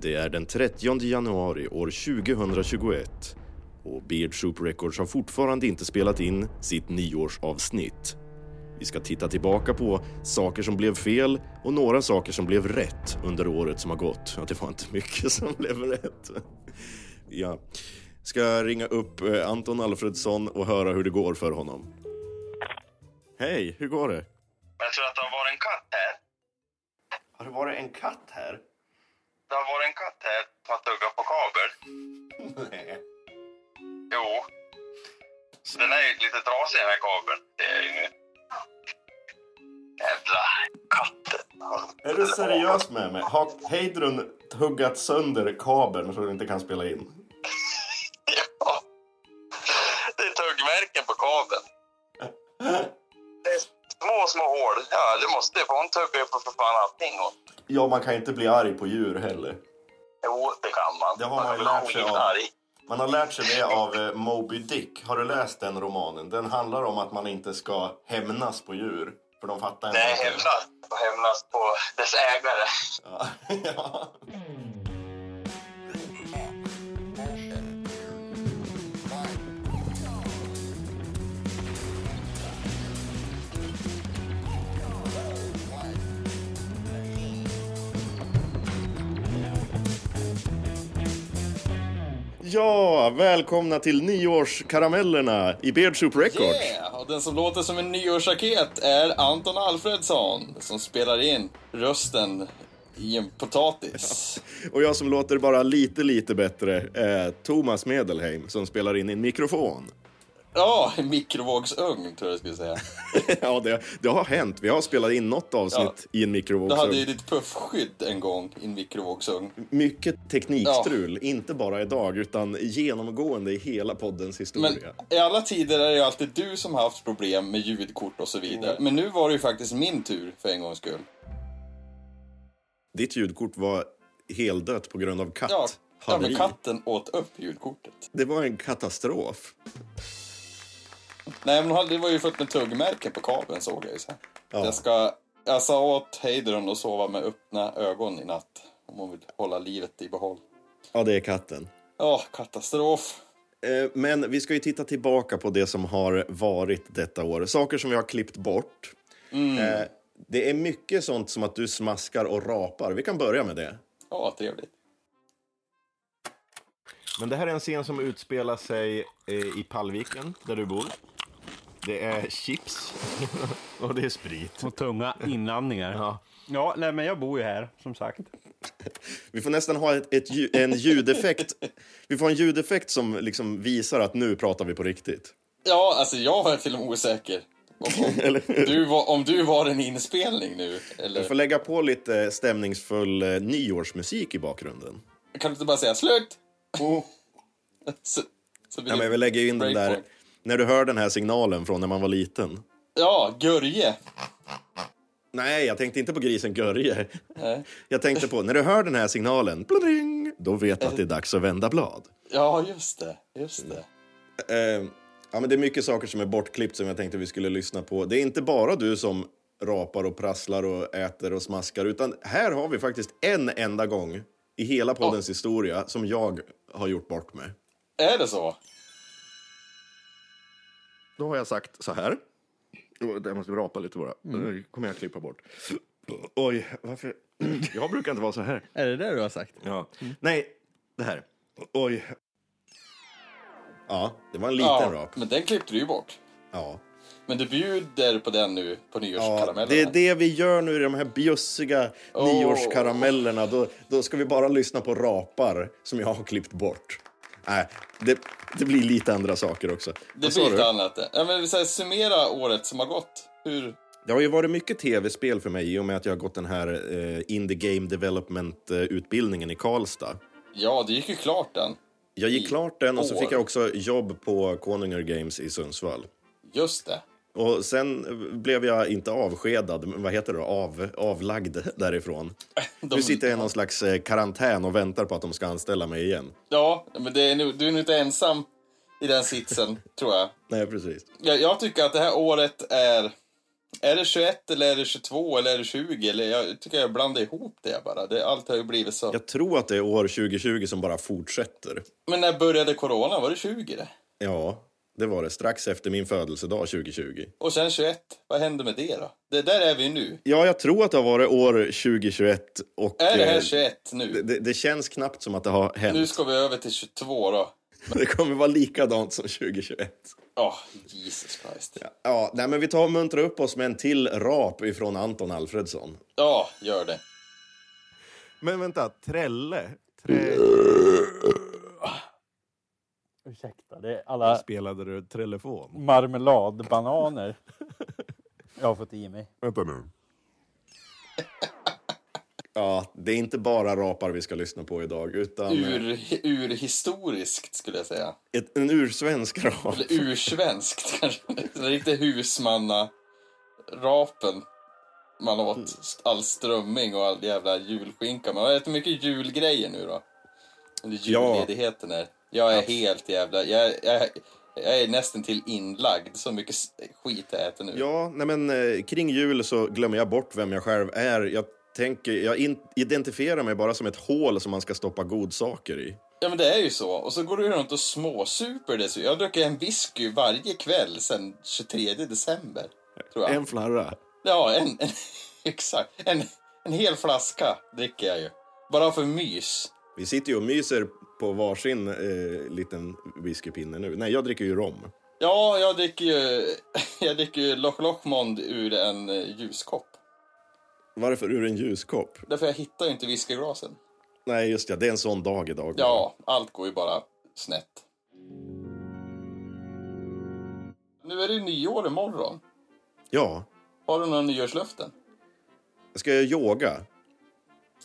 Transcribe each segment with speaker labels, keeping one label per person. Speaker 1: Det är den 30 januari år 2021 och Beard Soup Records har fortfarande inte spelat in sitt nioårsavsnitt. Vi ska titta tillbaka på saker som blev fel och några saker som blev rätt under året som har gått. Ja, det var inte mycket som blev rätt. Ja. Ska ringa upp eh, Anton Alfredsson och höra hur det går för honom. Hej, hur går det?
Speaker 2: Jag tror att det har varit en katt här.
Speaker 1: Har det varit en katt här?
Speaker 2: Det har varit en katt här som har tuggat på kabel.
Speaker 1: Nej.
Speaker 2: Jo. Så den är ju lite trasig den här kabeln. Det är ju nu. Jävla katten.
Speaker 1: Är du seriös med mig? Har Heidrun huggat sönder kabeln så den inte kan spela in?
Speaker 2: Ja. Det är tuggmärken på kabeln. Det är små, små hål. Ja, det måste det. För hon tuggar ju på för fan allting. Och...
Speaker 1: Ja, man kan inte bli arg på djur heller.
Speaker 2: Jo, det kan man.
Speaker 1: Det har man ju
Speaker 2: kan
Speaker 1: lärt
Speaker 2: bli
Speaker 1: sig av.
Speaker 2: skitarg.
Speaker 1: Man har lärt sig det av eh, Moby Dick. Har du läst den romanen? Den handlar om att man inte ska hämnas på djur. För de fattar
Speaker 2: Nej,
Speaker 1: inte.
Speaker 2: hämnas. Hämnas på dess ägare.
Speaker 1: Ja. ja. Ja, välkomna till nyårskaramellerna i Beard Soup Records.
Speaker 3: Yeah! Och den som låter som en nyårsraket är Anton Alfredsson som spelar in rösten i en potatis.
Speaker 1: Och jag som låter bara lite, lite bättre är Thomas Medelheim som spelar in i en mikrofon.
Speaker 3: Ja, en mikrovågsugn tror jag skulle säga.
Speaker 1: ja, det, det har hänt. Vi har spelat in något avsnitt i en
Speaker 3: Du hade ju
Speaker 1: mikrovågsugn.
Speaker 3: ditt puffskydd en gång i en mikrovågsugn.
Speaker 1: Mycket teknikstrul, inte bara idag utan genomgående i hela poddens
Speaker 3: Men
Speaker 1: historia.
Speaker 3: i alla tider är det ju alltid du som har haft problem med ljudkort och så vidare. Men nu var det ju faktiskt min tur för en gångs skull.
Speaker 1: Ditt ljudkort var heldött på grund av katt.
Speaker 3: Ja, ja
Speaker 1: haveri.
Speaker 3: men katten åt upp ljudkortet.
Speaker 1: Det var en katastrof.
Speaker 3: Nej, men hon- det var ju fullt med tuggmärken på kabeln såg jag ju sen.
Speaker 1: Ja.
Speaker 3: Jag, ska, jag sa åt Heidrun att sova med öppna ögon i natt. Om hon vill hålla livet i behåll.
Speaker 1: ja, det är katten.
Speaker 3: Ja, katastrof.
Speaker 1: Eh, Men vi ska ju titta tillbaka på det som har varit detta år. Saker som vi har klippt bort. Eh, Det är mycket sånt som att du smaskar och rapar. Vi kan börja med det.
Speaker 3: Ja, trevligt.
Speaker 1: Men det här är en scen som utspelar sig eh, i Pallviken, där du bor. Det är chips och det är sprit.
Speaker 4: Och tunga inandningar.
Speaker 1: Ja.
Speaker 4: Ja. ja, nej men jag bor ju här, som sagt.
Speaker 1: Vi får nästan ha ett, ett, lju- en ljudeffekt. Vi får en ljudeffekt som liksom visar att nu pratar vi på riktigt.
Speaker 3: Ja, alltså jag var till och med osäker. Om, om,
Speaker 1: Eller hur?
Speaker 3: du var, om du var en inspelning nu,
Speaker 1: Vi får
Speaker 3: eller?
Speaker 1: lägga på lite stämningsfull eh, nyårsmusik i bakgrunden.
Speaker 3: Kan du inte bara säga slut? Så, så blir
Speaker 1: Ja,
Speaker 3: det-
Speaker 1: men vi lägger ju in den där...
Speaker 3: Breakpoint.
Speaker 1: När du hör den här signalen från när man var liten.
Speaker 3: ja, Görje.
Speaker 1: Nej, jag tänkte inte på grisen Görje.
Speaker 3: Nej.
Speaker 1: Jag tänkte på när du hör den här signalen, pling, då vet du att det är dags att vända blad.
Speaker 3: Ja, just det. Just det.
Speaker 1: Eh, ja, men det är mycket saker som är bortklippt som jag tänkte vi skulle lyssna på. Det är inte bara du som rapar och prasslar och äter och smaskar utan här har vi faktiskt en enda gång i hela poddens historia som jag har gjort bort mig.
Speaker 3: Är det så?
Speaker 1: Då har jag sagt så här. Åh, Jag måste rapa lite bara.
Speaker 3: Mm.
Speaker 1: Nu kommer jag klippa bort. Oj, varför? Jag brukar inte vara så här.
Speaker 4: Är det det du har sagt?
Speaker 1: Ja.
Speaker 3: Mm.
Speaker 1: Nej, det här. Oj. Ja, det var en liten
Speaker 3: ja,
Speaker 1: rap.
Speaker 3: men den klippte du ju bort.
Speaker 1: Ja.
Speaker 3: Men du bjuder på den nu, på
Speaker 1: Ja,
Speaker 3: nyårskaramellerna.
Speaker 1: det är det vi gör nu i de här bjussiga
Speaker 3: Åh.
Speaker 1: nyårskaramellerna. Då, då ska vi bara lyssna på rapar som jag har klippt bort. Nej, det, det blir lite andra saker också.
Speaker 3: Det
Speaker 1: Vad sa
Speaker 3: blir
Speaker 1: du?
Speaker 3: lite annat. det. Ja, men vi säger, summera året som har gått. Hur...
Speaker 1: Det har ju varit mycket tv-spel för mig i och med att jag har gått den här eh, Indie Game Development-utbildningen i Karlstad.
Speaker 3: Ja, det gick ju klart den.
Speaker 1: Jag gick
Speaker 3: I
Speaker 1: klart den och så
Speaker 3: år.
Speaker 1: fick jag också jobb på Koninger Games i Sundsvall.
Speaker 3: Just det.
Speaker 1: Och sen eh, blev jag inte avskedad, men vad heter det då? Av, avlagd därifrån.
Speaker 3: De-
Speaker 1: Nu sitter jag i någon slags eh, karantän och väntar på att de ska anställa mig igen.
Speaker 3: Ja, men det är, nu- du är nog inte ensam i den sitsen, tror jag.
Speaker 1: Nej, precis.
Speaker 3: jag. Jag tycker att det här året är... Är det 21 eller är det 22 eller är det 20? Eller jag tycker jag blandar ihop det bara. Det, allt har ju blivit så.
Speaker 1: Jag tror att det är år 2020 som bara fortsätter.
Speaker 3: Men när började corona? Var det 20 det?
Speaker 1: Ja, det var det. Strax efter min födelsedag 2020.
Speaker 3: Och sen 21, vad hände med det då? Det där är vi ju nu.
Speaker 1: Ja, jag tror att det har varit år 2021 och...
Speaker 3: Är det
Speaker 1: eh,
Speaker 3: här 21
Speaker 1: det-
Speaker 3: nu?
Speaker 1: det, det känns knappt som att det har hänt.
Speaker 3: Nu ska vi över till 22 då.
Speaker 1: Det kommer vara likadant som 2021.
Speaker 3: Ja, Jesus Christ. Ja.
Speaker 1: Ja, nej, men vi tar och muntrar upp oss med en till rap ifrån Anton Alfredsson.
Speaker 3: gör det.
Speaker 5: Men vänta, Trelle? Tre...
Speaker 1: Mm.
Speaker 6: Ursäkta, det är alla
Speaker 5: Spelade du Trellefon?
Speaker 6: marmeladbananer jag har fått i mig.
Speaker 5: Vänta nu.
Speaker 1: Ja, det är inte bara rapar vi ska lyssna på idag, utan
Speaker 3: Ur, urhistoriskt skulle jag säga.
Speaker 1: ett, en ursvensk rap.
Speaker 3: Eller ursvenskt kanske. Den riktiga husmanna-rapen man
Speaker 1: Mm.
Speaker 3: åt. All strömming och all jävla julskinka. Man äter mycket julgrejer nu då. Under
Speaker 1: Ja.
Speaker 3: julledigheten här. Jag är helt jävla... Jag, jag, jag är nästan till inlagd. Så mycket s- skit jag äter nu.
Speaker 1: Ja, nej men eh, kring jul så glömmer jag bort vem jag själv är. Jag tänker, jag in, identifierar mig bara som ett hål som man ska stoppa godsaker i.
Speaker 3: Ja men det är ju så. Och så går du runt och småsuper dessutom. Jag dricker en whisky varje kväll sedan 23 december. Tror jag.
Speaker 1: En flarra.
Speaker 3: Ja, en, en, exakt. En, en hel flaska dricker jag ju. Bara för mys.
Speaker 1: Vi sitter ju och myser på varsin eh, liten whiskypinne nu. Nej, jag dricker ju rom.
Speaker 3: Ja, jag dricker ju, jag dricker ju Loch Lochmond ur en eh, ljuskopp.
Speaker 1: Varför ur en ljuskopp?
Speaker 3: Därför jag hittar ju inte whiskyglasen.
Speaker 1: Nej, just ja, det är en sån dag idag.
Speaker 3: Ja, allt går ju bara snett. Nu är det ju nyår imorgon.
Speaker 1: Ja.
Speaker 3: Har du några nyårslöften?
Speaker 1: Jag ska göra yoga.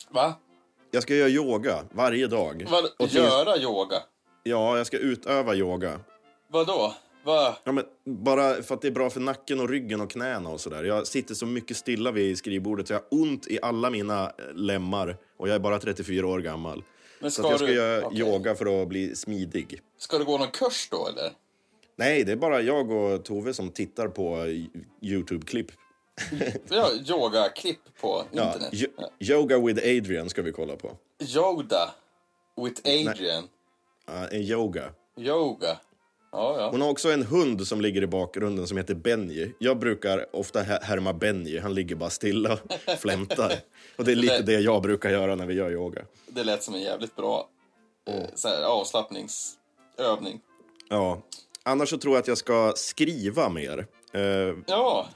Speaker 3: Va?
Speaker 1: Jag ska göra yoga varje dag.
Speaker 3: Vad,
Speaker 1: Och till-
Speaker 3: göra yoga?
Speaker 1: Ja, jag ska utöva yoga.
Speaker 3: Vadå? Va?
Speaker 1: Ja, men bara för att det är bra för nacken och ryggen och knäna och sådär. Jag sitter så mycket stilla vid skrivbordet så jag har ont i alla mina eh, lemmar. Och jag är bara 34 år gammal.
Speaker 3: Men
Speaker 1: så att jag ska
Speaker 3: du-
Speaker 1: göra
Speaker 3: okej.
Speaker 1: yoga för att bli smidig.
Speaker 3: Ska du gå någon kurs då eller?
Speaker 1: Nej, det är bara jag och Tove som tittar på eh, Youtube-klipp.
Speaker 3: Vi har yogaklipp på
Speaker 1: Ja,
Speaker 3: internet.
Speaker 1: yo- yoga with Adrian ska vi kolla på.
Speaker 3: Yoda with Adrian.
Speaker 1: Ja, en yoga.
Speaker 3: Yoga. Ja, ja.
Speaker 1: Hon har också en hund som ligger i bakgrunden som heter Benji. Jag brukar ofta här- härma Benji. Han ligger bara stilla och flämtar. Och det är lite det jag brukar göra när vi gör yoga.
Speaker 3: Det lät som en jävligt bra
Speaker 1: Mm.
Speaker 3: eh, så här, avslappningsövning.
Speaker 1: Ja. Annars så tror jag att jag ska skriva mer. Eh,
Speaker 3: Ja,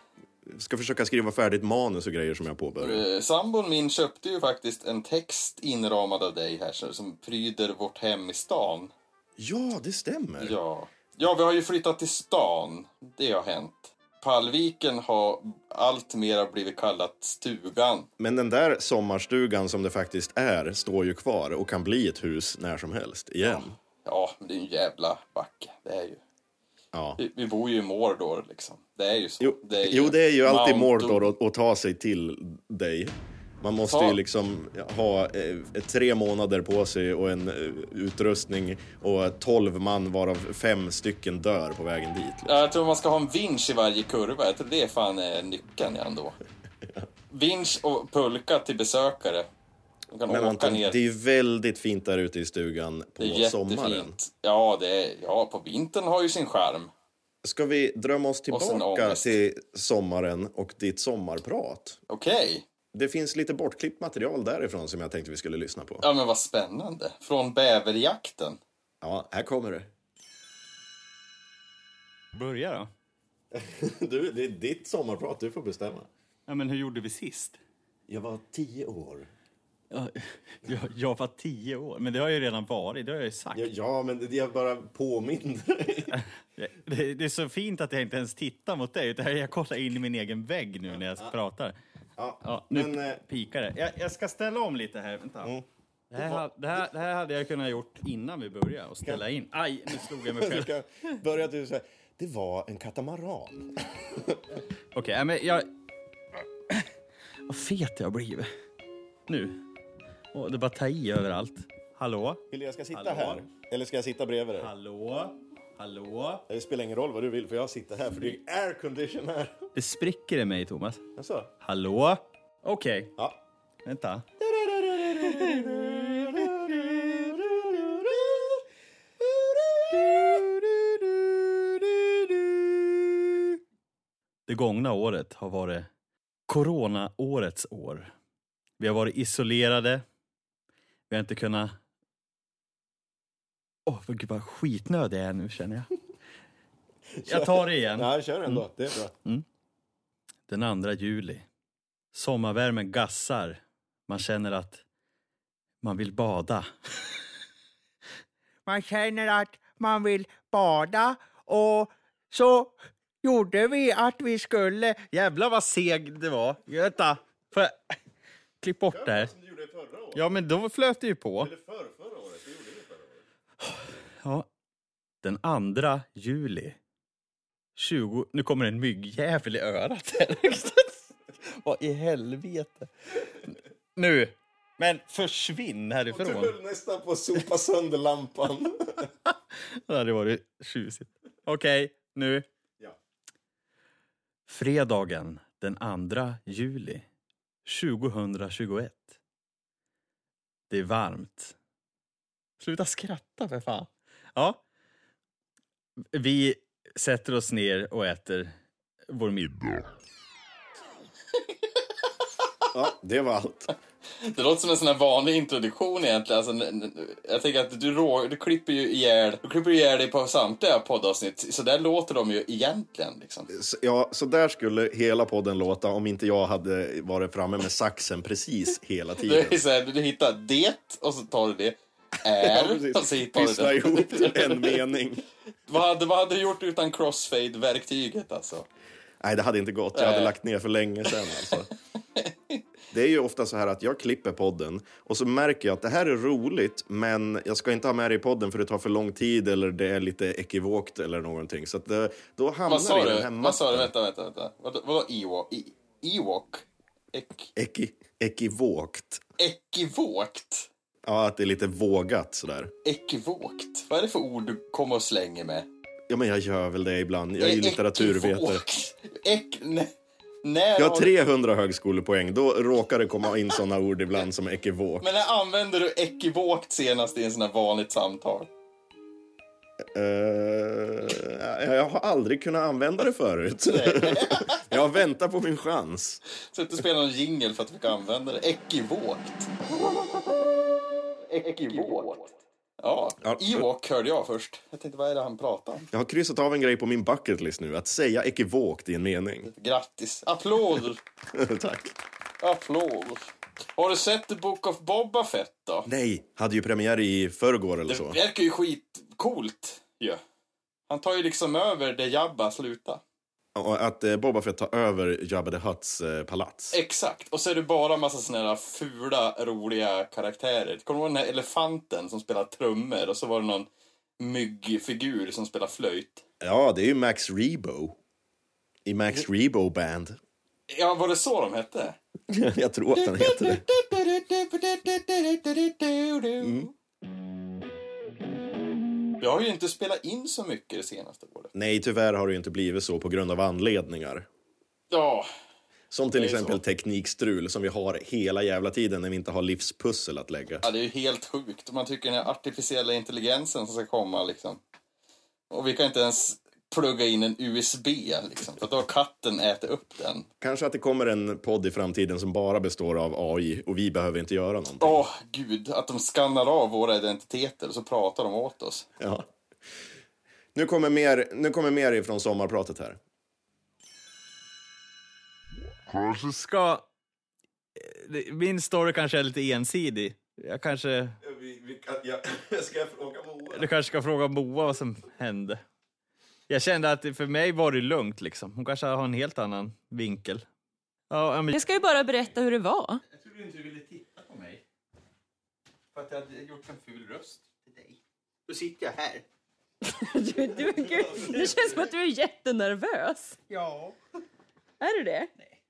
Speaker 1: ska försöka skriva färdigt manus och grejer som jag påbörjar.
Speaker 3: eh, sambon min köpte ju faktiskt en text inramad av dig här så- som pryder vårt hem i stan.
Speaker 1: Ja, det stämmer.
Speaker 3: Ja. ja, vi har ju flyttat till stan. Det har hänt. Pallviken har allt mera blivit kallat stugan.
Speaker 1: Men den där sommarstugan som det faktiskt är står ju kvar och kan bli ett hus när som helst igen.
Speaker 3: Ja, men det är en jävla backe. Det är ju.
Speaker 1: Ja.
Speaker 3: Vi, vi bor ju i Mordor liksom. Det är ju så.
Speaker 1: Jo,
Speaker 3: det är
Speaker 1: jo, det är ju alltid
Speaker 3: Mount
Speaker 1: Mordor att- att ta sig till dig. Man måste
Speaker 3: Ta-
Speaker 1: ju liksom ha eh, tre månader på sig och en eh, utrustning och tolv man varav fem stycken dör på vägen dit. liksom.
Speaker 3: Ja, jag tror man ska ha en vinsch i varje kurva. Jag tror det är fan är nyckeln ändå. Vinsch och pulka till besökare. De kan
Speaker 1: Men
Speaker 3: åka
Speaker 1: Anton, det
Speaker 3: ner.
Speaker 1: är ju väldigt fint där ute i stugan på
Speaker 3: Det är
Speaker 1: sommaren.
Speaker 3: jättefint. Ja, det är, ja, på vintern har ju sin charm.
Speaker 1: Ska vi drömma oss
Speaker 3: sen
Speaker 1: tillbaka
Speaker 3: ångest.
Speaker 1: till sommaren och ditt sommarprat?
Speaker 3: Okej.
Speaker 1: Det finns lite bortklippt material därifrån som jag tänkte vi skulle lyssna på.
Speaker 3: Ja, men vad spännande. Från bäverjakten.
Speaker 1: Ja, här kommer det.
Speaker 4: Börja då.
Speaker 1: Du, det är ditt sommarprat, du får bestämma.
Speaker 4: Ja, men hur gjorde vi sist?
Speaker 1: Jag var tio år.
Speaker 4: Jag, jag, jag var tio år, men det har jag ju redan varit. Det har jag ju sagt.
Speaker 1: Ja, ja men det- jag bara påminner dig.
Speaker 4: Det, det är så fint att jag inte ens tittar mot dig, utan jag kollar in i min egen vägg nu när jag pratar.
Speaker 1: Ja,
Speaker 4: Ja, nu
Speaker 1: men, eh,
Speaker 4: pikar det. Jag, jag ska ställa om lite här. Vänta. Det, här, ha- det, här, det här hade jag kunnat gjort innan vi började och ställa in. Aj, nu slog jag mig själv. Okej,
Speaker 1: jag börjar du säga, det var en katamaran.
Speaker 4: nej, men jag... Vad fet jag har blivit. Nu. Åh, det bara tar i överallt. Hallå?
Speaker 1: Vill jag ska sitta
Speaker 4: Hallå?
Speaker 1: här? Eller ska jag sitta bredvid dig?
Speaker 4: Hallå?
Speaker 7: Hallå?
Speaker 1: Det spelar ingen roll vad du vill för jag sitter här för det är aircondition här.
Speaker 7: Det spricker i mig, Thomas.
Speaker 1: Alltså,
Speaker 7: Hallå? Okej.
Speaker 1: ja.
Speaker 7: Vänta. Det gångna året har varit coronaårets år. Vi har varit isolerade. Vi har inte kunnat... Åh, oh, gud vad skitnödig jag är nu känner jag. Jag tar det igen.
Speaker 1: Ja, kör ändå. Det är bra.
Speaker 7: den 2 juli. Sommarvärmen gassar. Man känner att man vill bada.
Speaker 8: Man känner att man vill bada och så gjorde vi att vi skulle...
Speaker 7: Jävlar vad seg det var. Vänta, får jag... Klipp bort det här. Ja, men då flöt det ju på. Ja. Den 2 juli. 20... Nu kommer en myggjävel i örat. här. Vad i helvete? Nu! Men försvinn härifrån.
Speaker 1: nästan på att sopa sönder lampan.
Speaker 7: Det hade varit tjusigt. Okej, nu.
Speaker 1: Ja.
Speaker 7: Fredagen den 2 juli 2021. Det är varmt. Sluta skratta för fan. Ja. Vi sätter oss ner och äter vår middag.
Speaker 1: Ja, det var allt.
Speaker 3: Det låter som en sån här vanlig introduktion egentligen. Alltså, n- n- jag tänker att du, rå, du klipper ju ihjäl, du klipper ihjäl dig på samtliga poddavsnitt. Så där låter de ju egentligen. Liksom.
Speaker 1: Så, ja, så där skulle hela podden låta om inte jag hade varit framme med saxen precis hela tiden.
Speaker 3: Du, är så här, du hittar det och så tar du det.
Speaker 1: Ja,
Speaker 3: Är
Speaker 1: precis.
Speaker 3: och så hittar du
Speaker 1: Pyssla
Speaker 3: det.
Speaker 1: ihop en mening.
Speaker 3: Vad hade, vad hade du gjort utan crossfade-verktyget alltså?
Speaker 1: Nej, det hade inte gått. Jag hade
Speaker 3: Nej.
Speaker 1: lagt ner för länge sedan. Alltså. Det är ju ofta så här att jag klipper podden och så märker jag att det här är roligt men jag ska inte ha med det i podden för det tar för lång tid eller det är lite ekivokt eller någonting. Så att det, då hamnar
Speaker 3: Vad
Speaker 1: det
Speaker 3: sa
Speaker 1: i den
Speaker 3: du?
Speaker 1: här
Speaker 3: Vad sa du?
Speaker 1: mappen.
Speaker 3: Vänta, vänta, vänta. Vad, vadå Ewok? I- Ewok? Ek,
Speaker 1: Eki, ekivokt.
Speaker 3: ekivokt?
Speaker 1: Ja, att det är lite vågat sådär.
Speaker 3: Ekivokt? Vad är det för ord du kommer och slänger med?
Speaker 1: Ja, men jag gör väl det ibland. Jag är ju
Speaker 3: Ek-
Speaker 1: litteraturvetare.
Speaker 3: ekivokt. Ek, nej, när
Speaker 1: Jag har
Speaker 3: har-
Speaker 1: 300 högskolepoäng. Då råkar det komma in såna ord ibland som ekivok.
Speaker 3: Men när använder du ekivokt senast i en sån här vanligt samtal?
Speaker 1: Eh, jag har aldrig kunnat använda det förut. jag väntar på min chans.
Speaker 3: Så att du spelar någon jingle för att vi kan använda det. Ekivokt. Ekivokt. Ja,
Speaker 1: Ja.
Speaker 3: Ewok hörde jag först. Jag tänkte, vad är det han pratar om?
Speaker 1: Jag har kryssat av en grej på min bucket list nu. Att säga ekivokt i en mening.
Speaker 3: Grattis. Applåder.
Speaker 1: Tack.
Speaker 3: Applåder. Har du sett The Book of Boba Fett då?
Speaker 1: Nej, hade ju premiär i förrgår eller
Speaker 3: Det
Speaker 1: så.
Speaker 3: verkar ju skitcoolt ju. Han tar ju liksom över där Jabba slutar.
Speaker 1: Och Att eh, Boba Fett tar över Jabba the Hutts eh, palats.
Speaker 3: Exakt. Och så är det bara massa såna här fula, roliga karaktärer. Kommer du ihåg den här elefanten som spelar trummor och så var det någon myggfigur som spelar flöjt?
Speaker 1: Ja, det är ju Max Rebo. I Max Rebo Band.
Speaker 3: Ja, var det så de hette?
Speaker 1: jag tror att den heter det.
Speaker 3: Mm. Jag har ju inte spelat in så mycket det senaste året.
Speaker 1: Nej, tyvärr har det ju inte blivit så på grund av anledningar.
Speaker 3: Ja,
Speaker 1: Som till
Speaker 3: Det är ju
Speaker 1: exempel
Speaker 3: så.
Speaker 1: teknikstrul som vi har hela jävla tiden när vi inte har livspussel att lägga.
Speaker 3: ja, det är ju helt sjukt. Man tycker den här artificiella intelligensen som ska komma liksom. Och vi kan inte ens plugga in en USB liksom. För då har katten ätit upp den.
Speaker 1: Kanske att det kommer en podd i framtiden som bara består av AI och vi behöver inte göra någonting.
Speaker 3: Åh, gud. Att de skannar av våra identiteter och så pratar de åt oss.
Speaker 1: Ja. Nu, kommer mer, nu kommer mer ifrån sommarpratet här.
Speaker 7: Så ska... Min story kanske är lite ensidig. Jag kanske...
Speaker 1: Ska jag fråga Moa?
Speaker 7: Du kanske ska fråga Moa vad som hände. Jag kände att det- för mig var det lugnt liksom. Hon kanske har en helt annan vinkel. Ja, ja, men...
Speaker 9: Jag ska ju bara berätta hur det var.
Speaker 7: Jag trodde inte du ville titta på mig. För att jag hade gjort en ful röst till dig. Då sitter jag här.
Speaker 9: Du, du, gud, det känns som att du är jättenervös. Ja. Är du det? Nej.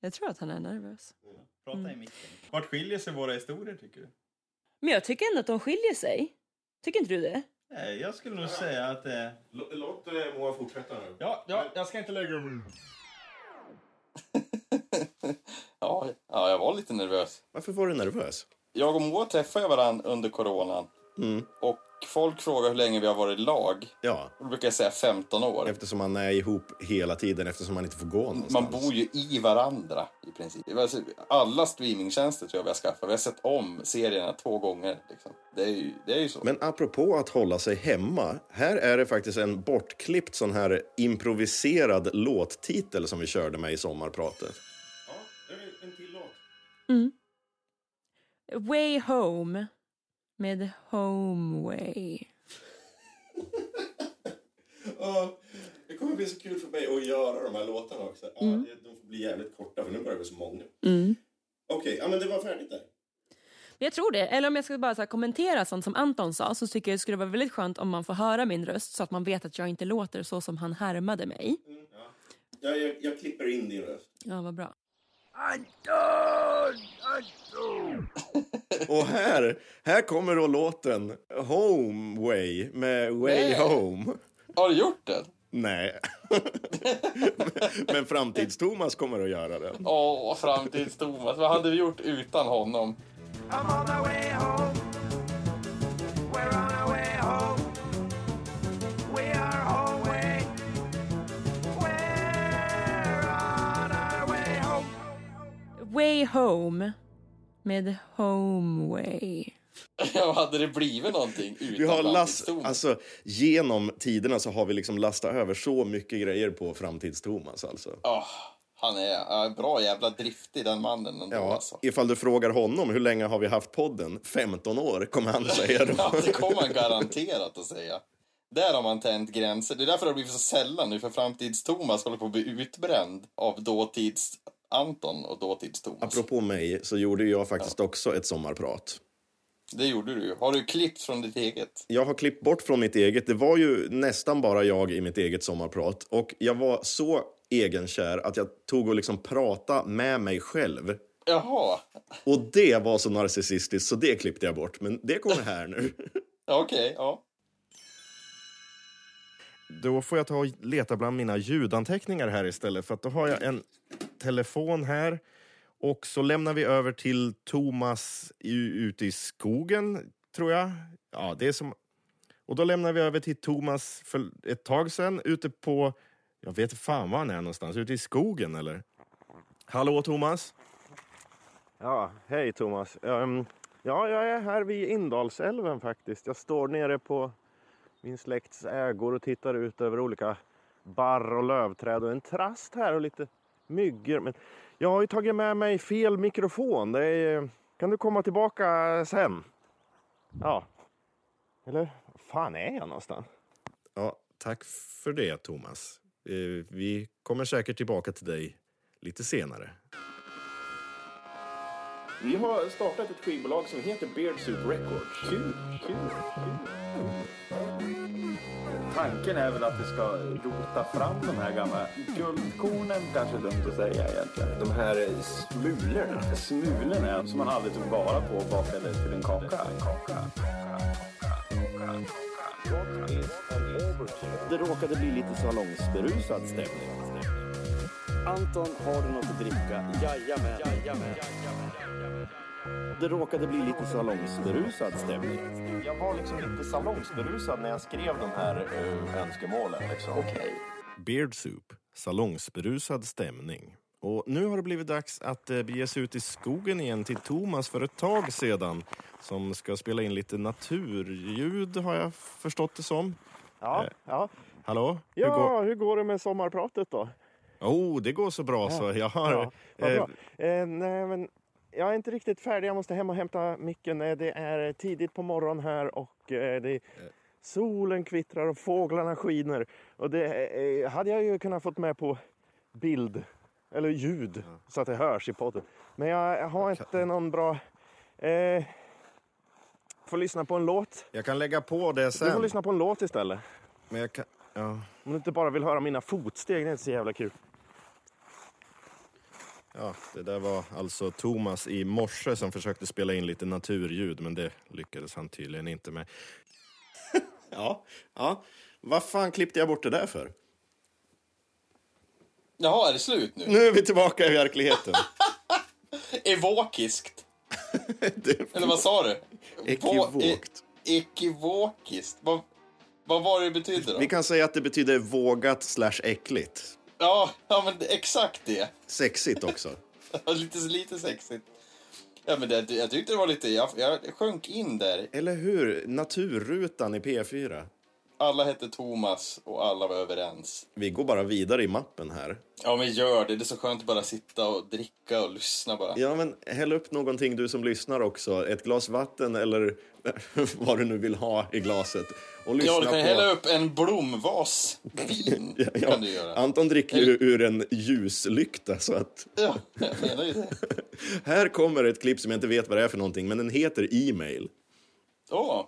Speaker 9: Jag tror att han är nervös. Mm.
Speaker 7: Prata i micken. Vart skiljer sig våra historier tycker du?
Speaker 9: Men jag tycker ändå att de skiljer sig. Tycker inte du det?
Speaker 4: Nej, jag skulle nog säga att det är...
Speaker 1: Låt Moa fortsätta nu.
Speaker 4: Ja, ja, jag ska inte lägga mig
Speaker 3: Ja, ja, jag var lite nervös.
Speaker 1: Varför var du nervös?
Speaker 3: Jag och Moa träffade ju varandra under coronan.
Speaker 1: Mm.
Speaker 3: Och folk frågar hur länge vi har varit i lag.
Speaker 1: Ja,
Speaker 3: Och då brukar jag säga 15 år.
Speaker 1: eftersom man är ihop hela tiden eftersom man inte får gå någonstans.
Speaker 3: Man bor ju i varandra i princip. Det var alltså- Alla streamingtjänster tror jag vi har skaffat. Vi har sett om serierna två gånger. Liksom. Det, är ju, det är ju så.
Speaker 1: Men apropå att hålla sig hemma, här är det faktiskt en bortklippt sån här improviserad låttitel som vi körde med i sommarpratet. Ja, det är en till låt.
Speaker 9: Way Home med Homeway.
Speaker 1: Ja, det kommer bli så kul för mig att göra de här låtarna också. Ja,
Speaker 3: Mm.
Speaker 1: De får bli jävligt korta för nu börjar vi så många. Okej, ja, men det var färdigt där.
Speaker 9: Men Jag tror det. Eller om jag ska bara så här kommentera sånt som Anton sa så tycker jag det skulle vara väldigt skönt om man får höra min röst så att man vet att jag inte låter så som han härmade mig.
Speaker 1: Jag, jag, jag klipper in din röst.
Speaker 9: Ja, vad bra.
Speaker 1: Och här, här kommer då låten Homeway med Way
Speaker 3: Nej.
Speaker 1: Home.
Speaker 3: Har du gjort det?
Speaker 1: Nej. Men Framtids-Thomas kommer att göra den.
Speaker 3: Åh, framtids-Thomas. Vad hade vi gjort utan honom?
Speaker 10: I'm on my way home. We're on our way home. We are home way. We're on our way home.
Speaker 9: Way Home med Homeway.
Speaker 3: Ja, hade det blivit någonting
Speaker 1: Vi
Speaker 3: utan
Speaker 1: har last,
Speaker 3: framtids-Thomas?
Speaker 1: alltså, genom tiderna så har vi liksom lastat över så mycket grejer på Framtids-Thomas. Alltså.
Speaker 3: Åh, Ah, han är äh, bra jävla driftig, den mannen. Ändå,
Speaker 1: Ja,
Speaker 3: alltså.
Speaker 1: ifall du frågar honom hur länge har vi haft podden? 15 år, kommer han säga
Speaker 3: Ja,
Speaker 1: då.
Speaker 3: det kommer han garanterat att säga. Där har man tänt gränser. Det är därför det har blivit så sällan nu, för framtids-Thomas håller på att bli utbränd av dåtids-Anton och dåtids-Thomas.
Speaker 1: Apropå mig så gjorde jag faktiskt också ett sommarprat.
Speaker 3: Det gjorde du ju. Har du klippt från ditt eget?
Speaker 1: Jag har klippt bort från mitt eget. Det var ju nästan bara jag i mitt eget sommarprat. Och jag var så egenkär att jag tog och liksom prata med mig själv.
Speaker 3: Jaha,
Speaker 1: Och det var så narcissistiskt så det klippte jag bort. Men det kommer här nu.
Speaker 3: ja, okej. ja.
Speaker 5: Då får jag ta och leta bland mina ljudanteckningar här istället. För att då har jag en telefon här. Och så lämnar vi över till Thomas i- ute i skogen, tror jag. Ja, det är som... Och då lämnar vi över till Thomas för ett tag sen ute på... Jag vet fan var han är någonstans. Ute i skogen, eller? Hallå, Thomas? Ja, hej Thomas. Ehm, ja, jag är här vid Indalsälven faktiskt. Jag står nere på min släkts ägor och tittar ut över olika barr och lövträd och en trast här och lite myggor. Men jag har ju tagit med mig fel mikrofon. Det är, kan du komma tillbaka sen? Ja. Eller, var fan är jag någonstans? Ja, tack för det Thomas. Eh, Vi kommer säkert tillbaka till dig lite senare.
Speaker 1: Vi har startat ett skivbolag som heter Beardsuit Records. Kul, kul,
Speaker 6: Tanken är väl att vi ska rota fram de här gamla guldkornen, kanske är dumt att säga egentligen. De här smulorna. Smulorna som man aldrig tog vara på och bakade till en kaka.
Speaker 11: Det råkade bli lite salongsberusad stämning. Anton, har du något att dricka? Jajamän. Jajamän. Det råkade bli lite salongsberusad stämning.
Speaker 5: Jag var liksom lite salongsberusad när jag skrev de här önskemålen. Liksom. Okej. Beard soup, salongsberusad stämning. Och nu har det blivit dags att eh, bege sig ut i skogen igen till Thomas för ett tag sedan som ska spela in lite naturljud har jag förstått det som.
Speaker 11: Ja, ja.
Speaker 5: Hallå?
Speaker 11: ja
Speaker 5: Eh, Hur går...
Speaker 11: hur går det med sommarpratet då?
Speaker 5: Oh, det går så bra så jag har...
Speaker 11: Ja, vad
Speaker 5: eh,
Speaker 11: bra. Eh, nej, men jag är inte riktigt färdig. Jag måste hem och hämta micken. Eh, Det är tidigt på morgonen här och eh, det är, solen kvittrar och fåglarna skiner. Och det eh, hade jag ju kunnat fått med på bild eller ljud så att det hörs i podden. Men jag har inte någon bra... Eh, får lyssna på en låt.
Speaker 5: jag kan lägga på det
Speaker 11: Du får
Speaker 5: sen.
Speaker 11: lyssna på en låt istället.
Speaker 5: Men jag kan... Ja.
Speaker 11: Om du inte bara vill höra mina fotsteg. Det är inte så jävla kul.
Speaker 5: Ja, det där var alltså Thomas i morse som försökte spela in lite naturljud men det lyckades han tydligen inte med.
Speaker 1: Ja, ja. Vad fan klippte jag bort det där för?
Speaker 3: Jaha, är det slut nu?
Speaker 1: Nu är vi tillbaka i verkligheten.
Speaker 3: Evokiskt. Eller vad sa du?
Speaker 1: Ekivokt.
Speaker 3: E- Ekivokiskt. Vad, vad var det det betydde då?
Speaker 1: Vi kan säga att det betyder vågat slash äckligt.
Speaker 3: Ja, ja, men exakt det.
Speaker 1: Sexigt också.
Speaker 3: lite, lite sexigt. Ja, men det, jag tyckte det var lite... Jag, jag sjönk in där.
Speaker 1: Eller hur? Naturrutan i P4.
Speaker 3: Alla hette Thomas och alla var överens.
Speaker 1: Vi går bara vidare i mappen här.
Speaker 3: Ja, men gör det. Det är så skönt att bara sitta och dricka och lyssna bara.
Speaker 1: Ja, men häll upp någonting du som lyssnar också. Ett glas vatten eller vad du nu vill ha i glaset. Och lyssna
Speaker 3: ja, du kan
Speaker 1: på...
Speaker 3: hälla upp en blomvas vin.
Speaker 1: Ja,
Speaker 3: kan du göra.
Speaker 1: Anton dricker ju ur en ljuslykta så att...
Speaker 3: Ja, jag menar ju det.
Speaker 1: Här kommer ett klipp som jag inte vet vad det är för någonting, men den heter E-mail.
Speaker 3: Åh,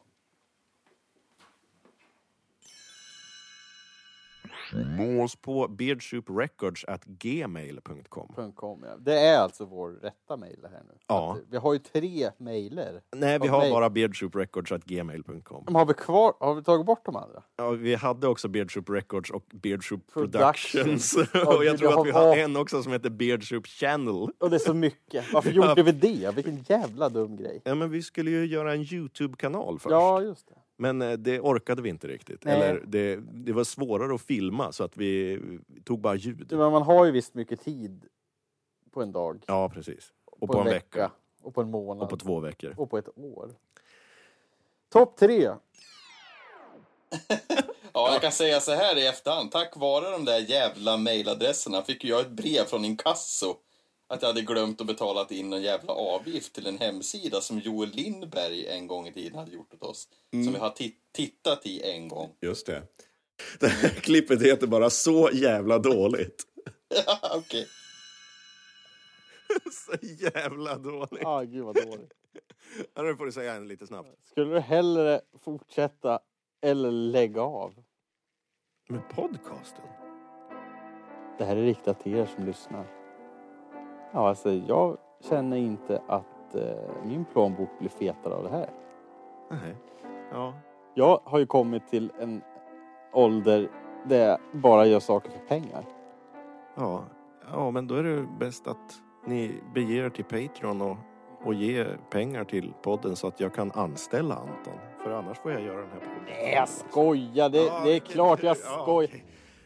Speaker 5: Nå oss på beardsouprecords.gmail.com.
Speaker 12: .com, ja. Det är alltså vår rätta mejl det här nu.
Speaker 5: Ja.
Speaker 12: Vi har ju tre mejler.
Speaker 5: Nej, vi
Speaker 12: Av
Speaker 5: har
Speaker 12: mejl.
Speaker 5: bara beardsouprecords.gmail.com.
Speaker 12: Men Har vi, kvar, har vi tagit bort de andra?
Speaker 5: Ja, vi hade också Beardsoup Records och Beardsoup
Speaker 12: Productions.
Speaker 5: Productions.
Speaker 12: Ja,
Speaker 5: och
Speaker 12: gud,
Speaker 5: jag tror
Speaker 12: jag
Speaker 5: att vi
Speaker 12: har
Speaker 5: har
Speaker 12: valt-
Speaker 5: en också som heter Beardsoup Channel.
Speaker 12: Och det är så mycket. Varför gjorde vi det? Vilken jävla dum grej.
Speaker 5: Ja, men vi skulle ju göra en Youtube-kanal först.
Speaker 12: Ja, just det.
Speaker 5: Men eh, det orkade vi inte riktigt.
Speaker 12: Nej.
Speaker 5: Eller det, det var svårare att filma så att vi eh, tog bara ljud.
Speaker 12: Ja, Men man har ju visst mycket tid på en dag.
Speaker 5: Ja, precis. Och på, en vecka.
Speaker 12: Och på en månad.
Speaker 5: Och på två veckor.
Speaker 12: Och på ett år. Topp tre.
Speaker 3: Ja, jag kan säga så här i efterhand. Tack vare de där jävla mejladresserna fick ju jag ett brev från inkasso att jag hade glömt att betala in en jävla avgift till en hemsida som Joel Lindberg en gång i tiden hade gjort åt oss. Som
Speaker 1: Mm.
Speaker 3: vi har ti- tittat i en gång.
Speaker 1: Just det. Det här klippet heter bara Så jävla dåligt.
Speaker 3: Ja, Okej.
Speaker 5: Så jävla dåligt.
Speaker 12: Ah, gud vad dåligt.
Speaker 5: Ja, nu får du säga en lite snabbt.
Speaker 12: Skulle du hellre fortsätta eller lägga av?
Speaker 5: Med podcasten?
Speaker 12: Det här är riktat till er som lyssnar. Ja, alltså jag känner inte att eh, min plånbok blir fetare av det här.
Speaker 5: Nej. Ja.
Speaker 12: Jag har ju kommit till en ålder där jag bara gör saker för pengar.
Speaker 5: Ja. ja, men då är det bäst att ni beger er till Patreon och, och ger pengar till podden så att jag kan anställa Anton. För annars får jag göra den här podden.
Speaker 12: Nej, jag skojar. Det,
Speaker 5: Ja,
Speaker 12: det är
Speaker 5: okej.
Speaker 12: klart jag
Speaker 5: Ja,
Speaker 12: skojar.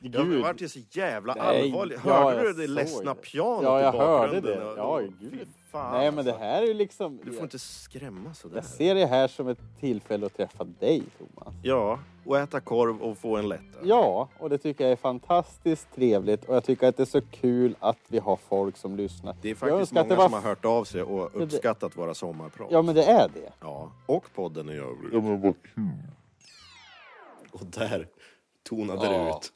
Speaker 5: Ja, men
Speaker 12: Gud.
Speaker 5: vart det så jävla
Speaker 12: Nej,
Speaker 5: allvarligt?
Speaker 12: ja,
Speaker 5: Hörde du
Speaker 12: jag
Speaker 5: det
Speaker 12: såg
Speaker 5: ledsna
Speaker 12: det.
Speaker 5: pianot
Speaker 12: Ja, jag
Speaker 5: i
Speaker 12: hörde
Speaker 5: bakgrunden?
Speaker 12: det. Ja, gud. Nej, men det här är ju liksom...
Speaker 5: alltså. Du får inte skrämma sådär.
Speaker 12: Jag ser det här som ett tillfälle att träffa dig, Thomas.
Speaker 5: Ja, och äta korv och få en lätt.
Speaker 12: Ja, och det tycker jag är fantastiskt trevligt och jag tycker att det är så kul att vi har folk som lyssnar.
Speaker 5: Det är
Speaker 12: jag
Speaker 5: faktiskt
Speaker 12: önskar att
Speaker 5: många
Speaker 12: det var
Speaker 5: som har hört av sig och
Speaker 12: det-
Speaker 5: uppskattat våra sommarprat.
Speaker 12: Ja, men det är det.
Speaker 5: Ja, och podden i övrigt.
Speaker 1: Och där tonade det
Speaker 3: Ja.
Speaker 1: ut.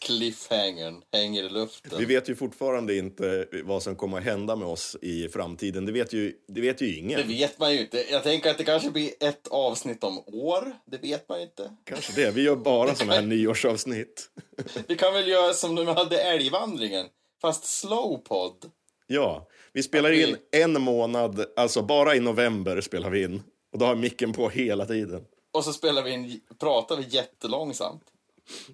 Speaker 3: Cliffhangern hänger i luften.
Speaker 1: Vi vet ju fortfarande inte vad som kommer att hända med oss i framtiden. Det vet ju, det vet ju ingen.
Speaker 3: Det vet man ju inte. Jag tänker att det kanske blir ett avsnitt om år. Det vet man ju inte.
Speaker 1: Kanske det. Vi gör bara såna här nyårsavsnitt.
Speaker 3: Vi kan väl göra som de hade älgvandringen, fast slowpod.
Speaker 1: Ja, vi spelar
Speaker 3: Okej.
Speaker 1: in en månad, alltså bara i november spelar vi in. Och då har micken på hela tiden.
Speaker 3: Och så spelar vi in, pratar vi jättelångsamt.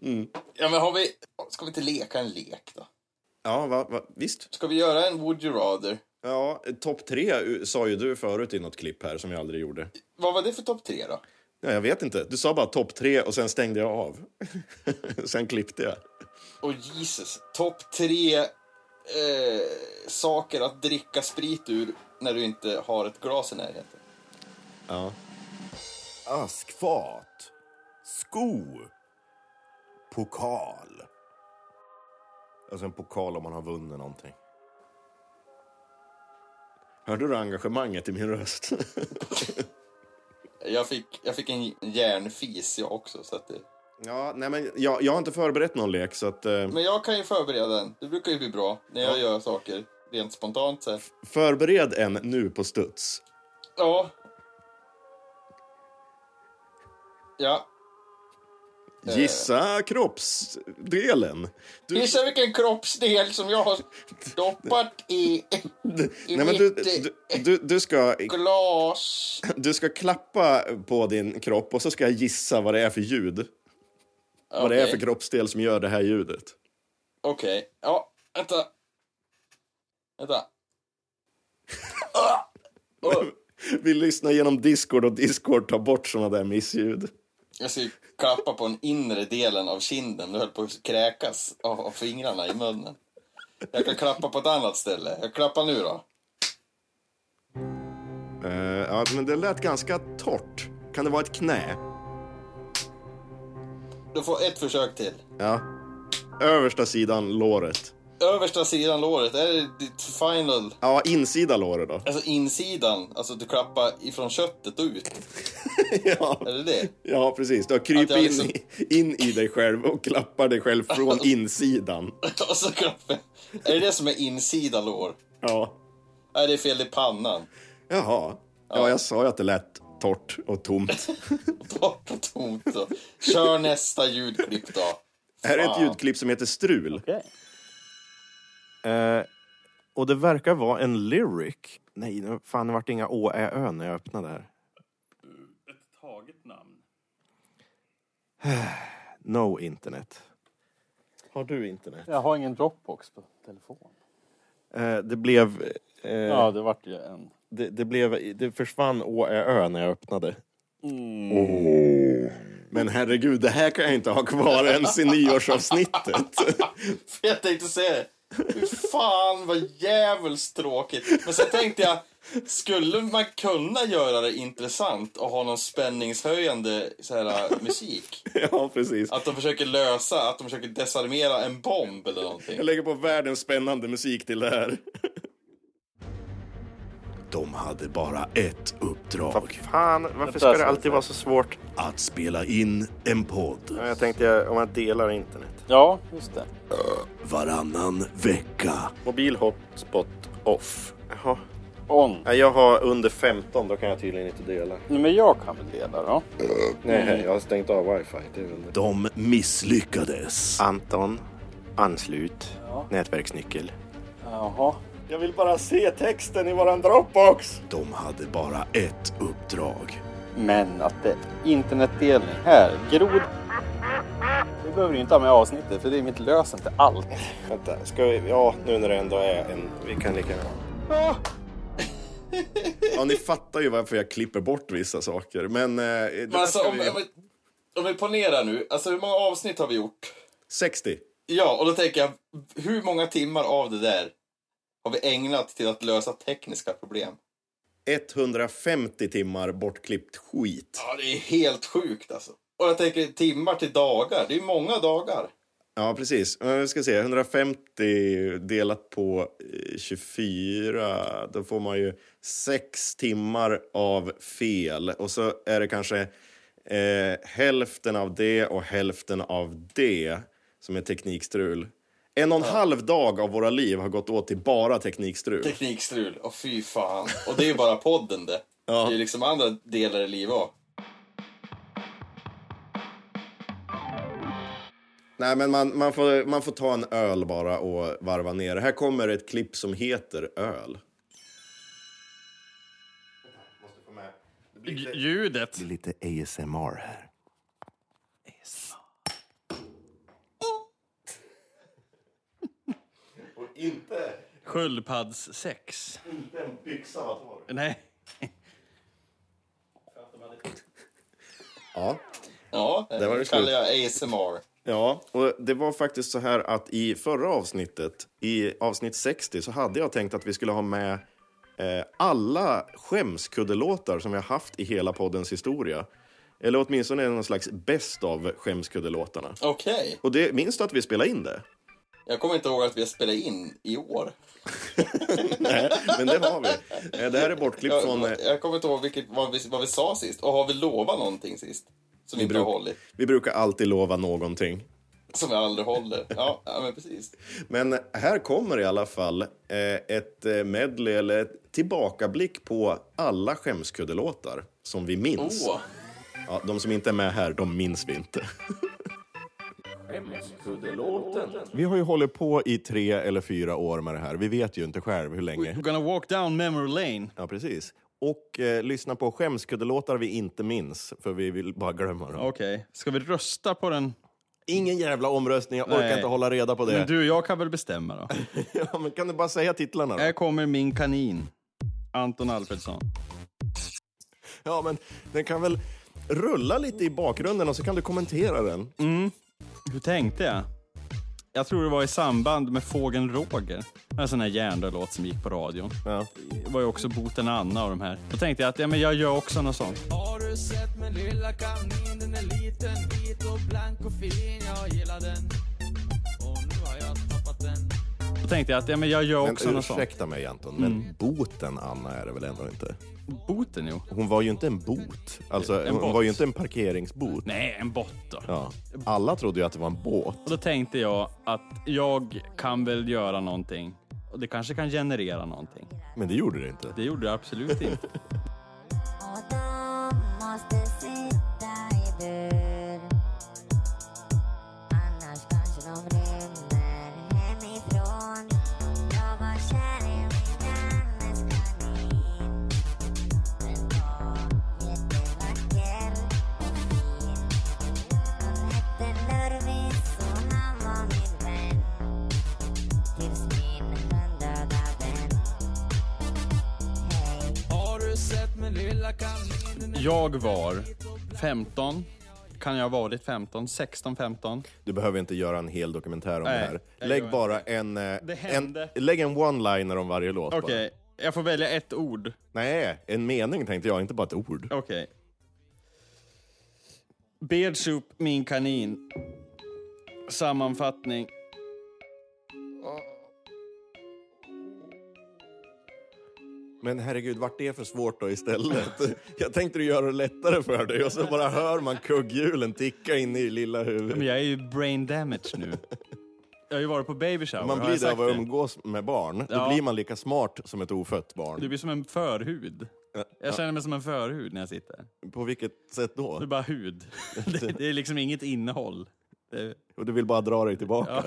Speaker 1: Mm.
Speaker 3: Ja, men har vi... Ska vi inte leka en lek då?
Speaker 1: Ja, va, va, visst.
Speaker 3: Ska vi göra en Would you rather?
Speaker 1: Ja, topp tre eh, sa ju du förut i något klipp här som jag aldrig gjorde.
Speaker 3: Vad var det för topp tre då?
Speaker 1: Ja, jag vet inte. Du sa bara topp tre och sen stängde jag av. sen klippte jag.
Speaker 3: Och Jesus, topp tre eh, saker att dricka sprit ur när du inte har ett glas i närheten.
Speaker 1: Ja.
Speaker 5: Askfat. Sko. Pokal. Alltså en pokal om man har vunnit någonting.
Speaker 1: Hörde du engagemanget i min röst?
Speaker 3: Jag fick, jag fick en järnfis jag också. Så att det...
Speaker 1: ja, nej men jag, jag har inte förberett någon lek så att... Eh,
Speaker 3: Men jag kan ju förbereda den. Det brukar ju bli bra när jag gör saker rent spontant. Så här.
Speaker 1: förbered en nu på studs.
Speaker 3: Ja. Ja.
Speaker 5: Eh.
Speaker 1: Gissa kroppsdelen. Du-
Speaker 3: Gissa vilken kroppsdel som jag har stoppat i, i
Speaker 1: Nej, men
Speaker 3: mitt
Speaker 1: du, du, du, du, ska,
Speaker 3: glas.
Speaker 1: du ska klappa på din kropp och så ska jag gissa vad det är för ljud. Vad det är
Speaker 3: Okej.
Speaker 1: för kroppsdel som gör det här ljudet.
Speaker 3: Okej, ja, vänta. Vänta.
Speaker 1: Vi lyssnar genom Discord och Discord tar bort såna där missljud.
Speaker 3: Jag ska ju klappa på den inre delen av kinden. Du höll på att kräkas av, av fingrarna i munnen. Jag kan klappa på ett annat ställe. Jag klappar nu då.
Speaker 1: Eh, ja, men det lät ganska torrt. Kan det vara ett knä?
Speaker 3: Du får ett försök till.
Speaker 1: Ja. Översta sidan låret.
Speaker 3: Översta sidan låret, är det ditt final?
Speaker 1: Ja, insida låret då.
Speaker 3: Alltså insidan, alltså du klappar ifrån köttet och ut.
Speaker 1: ja.
Speaker 3: Är det det?
Speaker 1: Ja, precis. Du har
Speaker 3: Att
Speaker 1: krypit
Speaker 3: jag
Speaker 1: in,
Speaker 3: liksom-
Speaker 1: i- in i dig själv och klappar dig själv från insidan.
Speaker 3: Och så klappar Är det det som är insida lår?
Speaker 1: Ja.
Speaker 3: Nej, det är fel i pannan.
Speaker 1: Jaha. Ja, jag sa ju att det lät torrt och tomt.
Speaker 3: Bort och tomt då. Kör nästa ljudklipp då.
Speaker 1: Här är ett
Speaker 3: Fan.
Speaker 1: ljudklipp som heter Strul.
Speaker 5: Eh, och det verkar vara en lyric. Nej, nu- fan det vart inga å, ä, ö när jag öppnade här.
Speaker 4: Ett taget namn.
Speaker 5: No internet. Har du internet?
Speaker 12: Jag har ingen Dropbox på telefon.
Speaker 5: Eh, det blev... eh,
Speaker 12: Ja, det vart ju en.
Speaker 5: det, det, blev, det försvann å, ä, ö när jag öppnade.
Speaker 4: Mm.
Speaker 1: Åh. Men herregud, det här kan jag inte ha kvar ens i nyårsavsnittet.
Speaker 3: För jag tänkte säga det. Fy Fan vad djävulskt tråkigt. Men så tänkte jag, skulle man kunna göra det intressant och ha någon spänningshöjande så här, äh, musik?
Speaker 1: ja, precis.
Speaker 3: Att de försöker lösa, att de försöker desarmera en bomb eller någonting.
Speaker 1: Jag lägger på världens spännande musik till det här. De hade bara ett uppdrag.
Speaker 5: Fan, varför ska det alltid vara så svårt?
Speaker 1: Att spela in en podd
Speaker 5: Ja, Jag tänkte om jag delar internet.
Speaker 12: Ja, just det.
Speaker 1: varannan vecka.
Speaker 5: Mobil hotspot off. Jaha.
Speaker 12: On.
Speaker 5: Ja, Jag har under 15, då kan jag tydligen inte dela.
Speaker 12: Nej, men jag kan väl dela då.
Speaker 5: Nej, jag har stängt av wifi. Det är väl det.
Speaker 1: De misslyckades.
Speaker 5: Anton, anslut,
Speaker 12: Ja.
Speaker 5: nätverksnyckel.
Speaker 12: Jaha.
Speaker 5: Jag vill bara se texten i våran Dropbox.
Speaker 1: De hade bara ett uppdrag.
Speaker 12: Men att det internetdelning här, grod. Vi behöver ju inte ha med avsnittet för det är mitt lösen till allt.
Speaker 5: Vänta, ska vi... Ja, nu när det ändå är en... Vi kan lika gärna...
Speaker 1: Ja, ni fattar ju varför jag klipper bort vissa saker. Men, eh, det
Speaker 3: Men
Speaker 1: där
Speaker 3: alltså,
Speaker 1: ska
Speaker 3: om,
Speaker 1: vi...
Speaker 3: om, vi- om vi ponerar nu, alltså hur många avsnitt har vi gjort?
Speaker 1: 60.
Speaker 3: Ja, och då tänker jag, hur många timmar av det där har vi ägnat till att lösa tekniska problem?
Speaker 1: 150 timmar bortklippt skit.
Speaker 3: Ja, det är helt sjukt alltså. Och jag tänker timmar till dagar, det är ju många dagar.
Speaker 1: Ja, precis. Eh, Vi ska se, 150 delat på eh, 24. Då får man ju sex timmar av fel. Och så är det kanske eh, hälften av det och hälften av det som är teknikstrul. En och en halv dag av våra liv har gått åt till bara teknikstrul.
Speaker 3: Teknikstrul, och fy fan. Och det är ju bara podden det.
Speaker 1: Ja.
Speaker 3: Det är liksom andra delar i livet också.
Speaker 1: Nej, men man, man, får, man får ta en öl bara och varva ner. Här kommer ett klipp som heter Öl.
Speaker 4: Ljudet.
Speaker 5: Det är lite ASMR här.
Speaker 1: Inte,
Speaker 4: Sköldpaddssex.
Speaker 1: inte en byxa var torr.
Speaker 4: Nej.
Speaker 1: Ja.
Speaker 3: Ja, det,
Speaker 1: Där var det
Speaker 3: kallar jag ASMR.
Speaker 1: Ja, och det var faktiskt så här att i förra avsnittet, i avsnitt 60, så hade jag tänkt att vi skulle ha med eh, alla skämskuddelåtar som vi har haft i hela poddens historia. Eller åtminstone någon slags bäst av skämskuddelåtarna.
Speaker 3: Okej,
Speaker 1: Och det, minns du att vi spelade in det?
Speaker 3: jag kommer inte ihåg att vi har spelat in i år.
Speaker 1: Nej, men det har vi. Eh, Det här är bortklippt
Speaker 3: Jag,
Speaker 1: från... eh,
Speaker 3: jag kommer inte ihåg vilket, vad, vi, vad vi sa sist. Och har vi lovat någonting sist? Som vi inte har
Speaker 1: bruk-
Speaker 3: hållit.
Speaker 1: Vi brukar alltid lova någonting.
Speaker 3: Som vi aldrig håller. Ja, ja men precis.
Speaker 1: Men här kommer i alla fall eh, ett eh, medley eller ett tillbakablick på alla skämskuddelåtar som vi minns.
Speaker 3: Åh,
Speaker 1: Ja, de som inte är med här, de minns vi inte.
Speaker 6: Skämskuddelåten.
Speaker 1: Vi har ju hållit på i tre eller fyra år med det här. Vi vet ju inte själv hur länge.
Speaker 4: We're gonna walk down memory lane.
Speaker 1: Ja, precis. Och eh, lyssna på skämskuddelåtar vi inte minns, för vi vill bara glömma dem.
Speaker 4: Okej, ska vi rösta på den?
Speaker 1: Ingen jävla omröstning, jag orkar
Speaker 4: Nej.
Speaker 1: inte hålla reda på det.
Speaker 4: Men du, jag kan väl bestämma då?
Speaker 1: ja, men kan du bara säga titlarna då?
Speaker 4: Här kommer min kanin. Anton Alfredsson.
Speaker 1: Ja, men den kan väl rulla lite i bakgrunden och så kan du kommentera den.
Speaker 4: Mm. Hur tänkte jag? Jag tror det var i samband med Fågeln Roger. En sån här hjärndöd låt som gick på radion. Det var ju också Boten Anna och de här. Då tänkte jag att ja, men jag gör också något sånt.
Speaker 10: Har du sett min lilla kanin? Den är liten, vit och blank och fin. Jag gillar den. Och nu har jag tappat den.
Speaker 4: Då tänkte jag att ja, men jag gör
Speaker 1: Men
Speaker 4: också något sånt.
Speaker 1: ursäkta mig Anton, men
Speaker 4: Mm.
Speaker 1: boten Anna är det väl ändå inte?
Speaker 4: Boten jo.
Speaker 1: Hon var ju inte en bot. Alltså,
Speaker 4: En
Speaker 1: hon
Speaker 4: bot.
Speaker 1: var ju inte en parkeringsbot.
Speaker 4: Nej, en bott då.
Speaker 1: Ja. Alla trodde ju att det var en båt.
Speaker 4: Och då tänkte jag att jag kan väl göra någonting. Och det kanske kan generera någonting.
Speaker 1: Men det gjorde det inte.
Speaker 4: Det gjorde det absolut inte.
Speaker 13: Måste sitta i bur Annars kanske de rymmer hemifrån Jag var kär i min grannes kanin Den var jättevacker och fin Han hette Lurvis och han var min vän Tills min hund dödade den
Speaker 10: Har du sett min lilla kanin? Den är
Speaker 4: Jag var 15. Kan jag ha varit 15? 16, 15?
Speaker 1: Du behöver inte göra en hel dokumentär om
Speaker 4: Nej,
Speaker 1: det här.
Speaker 4: jag
Speaker 1: Lägg
Speaker 4: gör
Speaker 1: bara en, eh, en,
Speaker 4: hände.
Speaker 1: lägg en one-liner om varje låt. bara.
Speaker 4: Okej, jag får välja ett ord.
Speaker 1: Nej, en mening tänkte jag, inte bara ett ord.
Speaker 4: Okej. Beardsoup, min kanin. Sammanfattning.
Speaker 1: Men herregud, vart det för svårt då istället? jag tänkte du göra det lättare för dig och så bara hör man kugghjulen ticka in i lilla huvudet.
Speaker 4: Men jag är ju brain damage nu. Jag har ju varit på baby shower.
Speaker 1: Om man
Speaker 4: har
Speaker 1: blir
Speaker 4: jag
Speaker 1: det
Speaker 4: sagt
Speaker 1: av att umgås med barn,
Speaker 4: Ja.
Speaker 1: då blir man lika smart som ett ofött barn. Eh,
Speaker 4: Du blir som en förhud. Jag känner mig som en förhud när jag sitter.
Speaker 1: På vilket sätt då?
Speaker 4: Det är bara hud. Det, det är liksom inget innehåll. Det,
Speaker 1: Och du vill bara dra dig tillbaka.
Speaker 4: ja.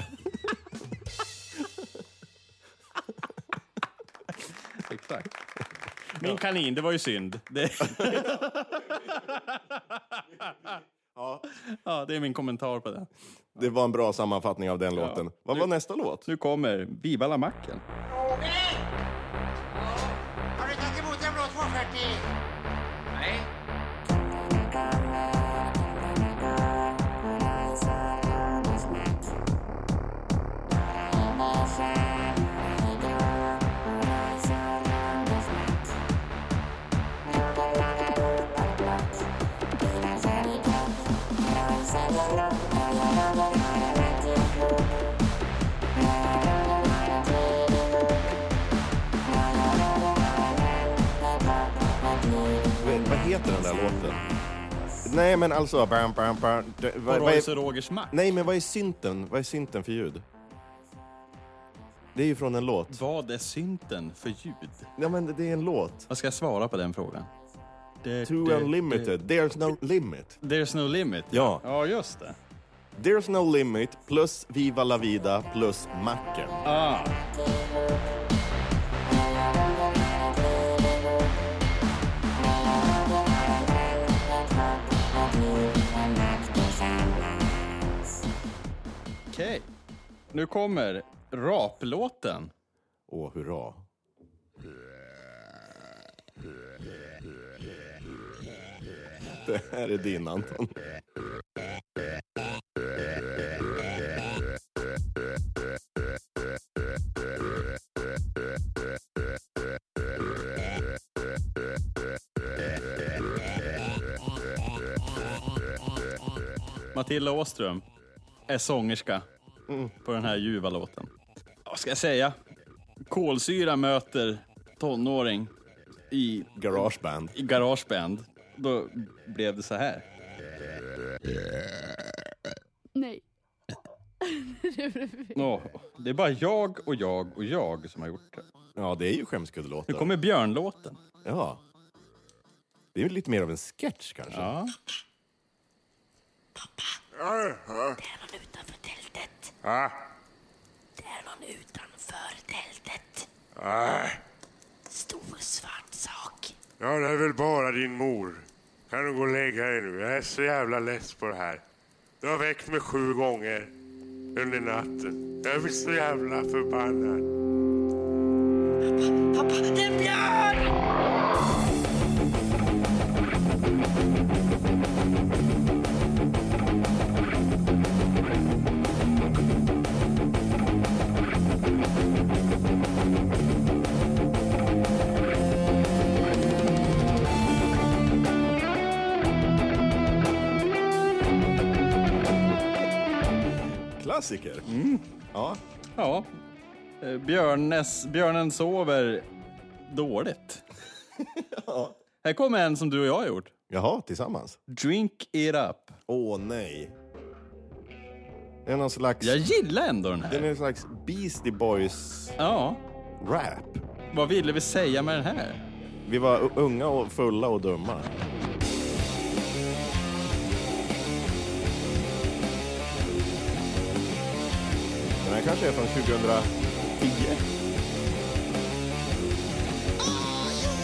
Speaker 4: Exakt. Min kanin, det var ju synd. Det...
Speaker 1: ja.
Speaker 4: ja, det är min kommentar på det.
Speaker 1: Det var en bra sammanfattning av den låten. Vad var nästa låt?
Speaker 4: Nu kommer Bibala macken.
Speaker 14: Roger! Har du tagit emot en blå 240? Nej.
Speaker 1: Vet- Vad heter den där låten? Nej, men alltså... Bam, bam, bam. Det- vad- vad är-
Speaker 4: Royce och Rogers mack.
Speaker 1: Nej, men vad är synten? Vad är synten för ljud? Det är ju från en låt.
Speaker 4: Vad är synten för ljud?
Speaker 1: Ja, men det är en låt.
Speaker 4: Vad ska jag svara på den frågan?
Speaker 1: True unlimited. There's no limit.
Speaker 4: There's no limit?
Speaker 1: Ja.
Speaker 4: Ja, just det.
Speaker 1: There's no limit plus Viva la vida plus macken.
Speaker 4: Ah. Okej. Nu kommer raplåten.
Speaker 1: Åh, hurra. Det här är din, Anton.
Speaker 4: Matilda Åström är sångerska på den här ljuva låten. Vad ska jag säga? Kolsyra möter tonåring i
Speaker 1: garageband.
Speaker 4: I garageband. Då blev det så här.
Speaker 15: Nej.
Speaker 4: Nå, det är bara jag och jag och jag som har gjort det.
Speaker 1: Ja, det är ju skämskuddelåtar.
Speaker 4: Nu kommer björnlåten.
Speaker 1: Ja. Det är ju lite mer av en sketch kanske.
Speaker 4: Ja.
Speaker 10: Dävan
Speaker 13: utanför
Speaker 11: Ja.
Speaker 13: Det är någon utanför tältet.
Speaker 11: Nej.
Speaker 13: Stor svart sak.
Speaker 11: Ja, det är väl bara din mor. Kan du gå och lägga dig nu? Jag är så jävla less på det här. Du har väckt mig sju gånger under natten. Jag är så jävla förbannad.
Speaker 13: Pappa, det är en björn!
Speaker 16: Klassiker.
Speaker 4: Ja. ja. Eh, Björnes, björnen sover dåligt. Här kommer en som du och jag har gjort.
Speaker 1: Jaha, tillsammans?
Speaker 4: Drink it up.
Speaker 1: Åh nej. Det är någon slags...
Speaker 4: Jag gillar ändå den här.
Speaker 1: Det är någon slags Beastie Boys...
Speaker 4: Ja.
Speaker 1: Rap.
Speaker 4: Vad ville vi säga med den här?
Speaker 1: Vi var u- unga och fulla och dumma. Den här kanske är från 2010?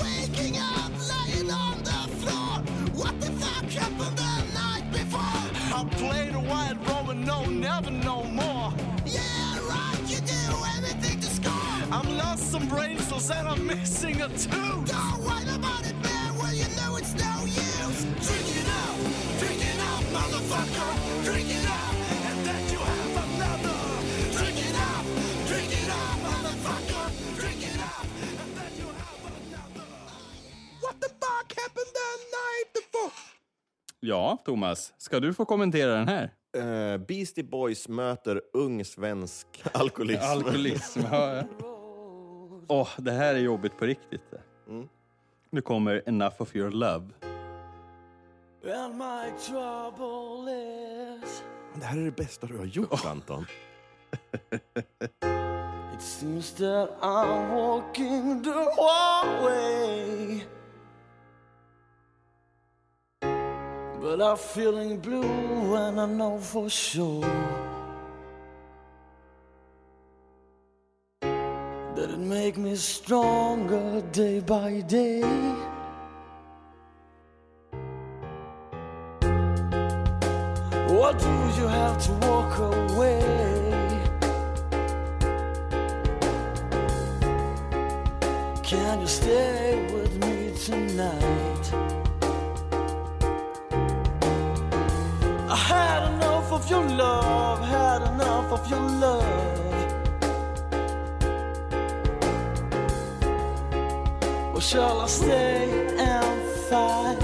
Speaker 13: Waking up, lying on the floor. What the fuck happened the night before?
Speaker 3: I played a wide Roman, no, never no more. Yeah, right, you do anything to score. I'm lost some brain cells and I'm missing a tooth. Don't worry about it, man, well, you know it's no use. Drink it up, drink it up, motherfucker. Drink it up, and then you have another. Drink it up, drink it up, motherfucker. Drink it up, and then you have another. What the fuck happened that night before?
Speaker 4: Ja, Thomas. Ska du få kommentera den här?
Speaker 1: Eh, Beastie Boys möter ung svensk alkoholism.
Speaker 4: Alkoholism, ja. ja. Åh, det här är jobbigt på riktigt.
Speaker 3: Mm.
Speaker 4: Nu kommer Enough of your love.
Speaker 3: And my trouble is
Speaker 1: Det här är det bästa du har gjort, Anton.
Speaker 3: It seems that I'm walking the wrong way But I'm feeling blue and I know for sure That it make me stronger day by day What do you have to walk away? Can you stay with me tonight? I had enough of your love, had enough of your love. Or shall I stay and fight?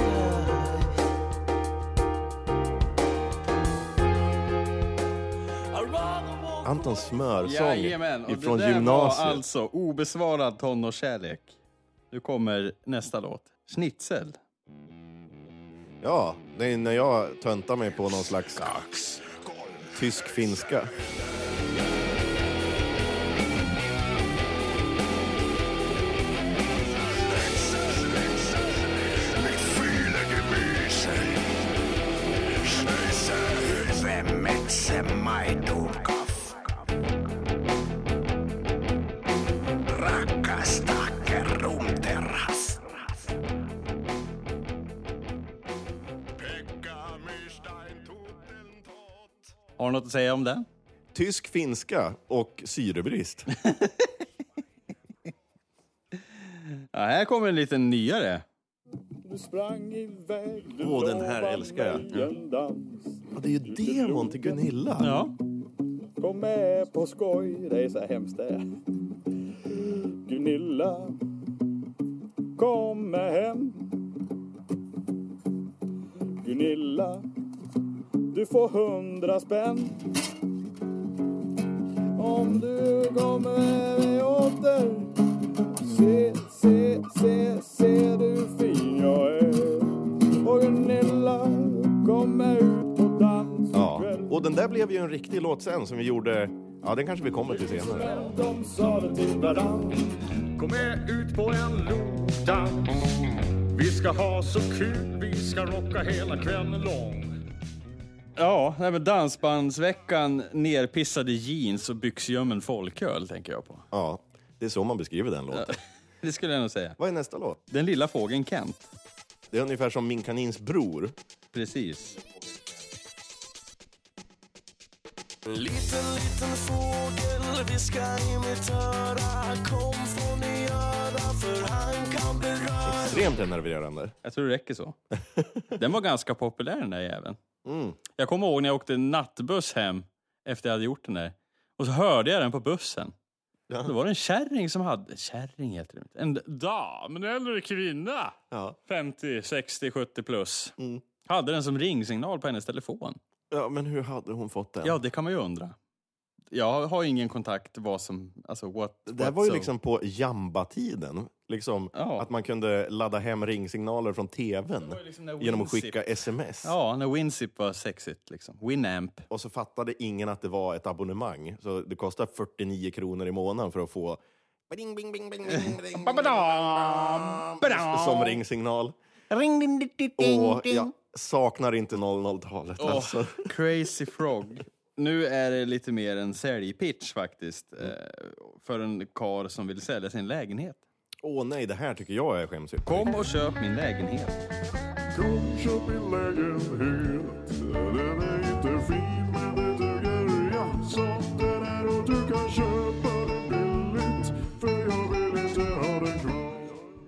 Speaker 1: Anton smörsång
Speaker 4: Jajamän, och
Speaker 1: ifrån
Speaker 4: det där
Speaker 1: gymnasiet.
Speaker 4: var alltså obesvarad tonårskärlek. Nu kommer nästa låt. Schnitzel.
Speaker 1: Ja, det är när jag töntar mig på någon slags tysk-finska.
Speaker 3: Mit viele Gemüse. Schöße, Hülse, Metze, Maidobkopf. Rakas, Dacke, Rum, der Hass.
Speaker 4: Har du något att säga om den?
Speaker 1: Tysk finska och syrebrist.
Speaker 4: Ja, här kommer en liten nyare.
Speaker 7: Du sprang iväg, du
Speaker 1: Åh, den här
Speaker 7: lovade
Speaker 1: älskar jag.
Speaker 7: mig en dans.
Speaker 1: det är ju demon till Gunilla.
Speaker 4: Ja.
Speaker 7: Kom med på skoj, det är så hemskt det är. Gunilla, kom med hem. Gunilla, du får hundra spänn. Om du kommer med mig åter. Se, se, se, se du hur fin jag är. Och Gunilla, kom med ut på dans.
Speaker 1: Ja. Och den där blev ju en riktig låt sen som vi gjorde... Ja, den kanske vi kommer till senare.
Speaker 7: De sa det till varann Kom med ut på en lodans
Speaker 17: Vi ska ha så kul, vi ska rocka hela kvällen lång.
Speaker 4: Ja, nej, men dansbandsveckan, nerpissade jeans och byxljummen folköl tänker jag på.
Speaker 1: Ja, det är så man beskriver den låten.
Speaker 4: det skulle jag nog säga.
Speaker 1: Vad är nästa låt?
Speaker 4: Den lilla fågeln Kent.
Speaker 1: Det är ungefär som Min kanins bror.
Speaker 4: Precis.
Speaker 10: En liten, liten fågel viskar i mitt öra Kom får ni göra för han kan beröra
Speaker 1: Extremt enerverande.
Speaker 4: Jag tror det räcker så. Den var ganska populär den där jäveln.
Speaker 1: Mm.
Speaker 4: Jag kommer ihåg när jag åkte nattbuss hem efter jag hade gjort den där. Och så hörde jag den på bussen. Då var det en kärring som hade... Kärring heter det inte. En dam, en äldre kvinna. 50, 60, 70 plus.
Speaker 1: Mm.
Speaker 4: Hade den som ringsignal på hennes telefon.
Speaker 1: Ja, men hur hade hon fått den?
Speaker 4: Ja, det kan man ju undra. Jag har ingen kontakt vad som... Alltså what...
Speaker 1: Det här
Speaker 4: what
Speaker 1: var ju
Speaker 4: so.
Speaker 1: liksom på jamba-tiden. Liksom Att man kunde ladda hem ringsignaler från tvn
Speaker 4: liksom när
Speaker 1: genom att
Speaker 4: Winzip-
Speaker 1: skicka sms.
Speaker 4: Ja, när Winzip var sexigt. Liksom. Winamp.
Speaker 1: Och så fattade ingen att det var ett abonnemang. Så det kostar 49 kronor i månaden för att få Bing, bing, bing, bing, bing, bing, som ringsignal.
Speaker 4: Ring, ding, ding, ding,
Speaker 1: Åh,
Speaker 4: ding.
Speaker 1: jag saknar inte 00-talet
Speaker 4: Åh,
Speaker 1: alltså.
Speaker 4: Crazy Frog. Nu är det lite mer en säljpitch faktiskt. eh, För en kar som vill sälja sin lägenhet.
Speaker 1: Åh nej, det här tycker jag är skämsytt.
Speaker 4: Kom och köp min lägenhet.
Speaker 10: Kom köp min lägenhet Den är inte fin men det duger Jag som den är och du kan köpa den billigt För jag vill inte ha den kvar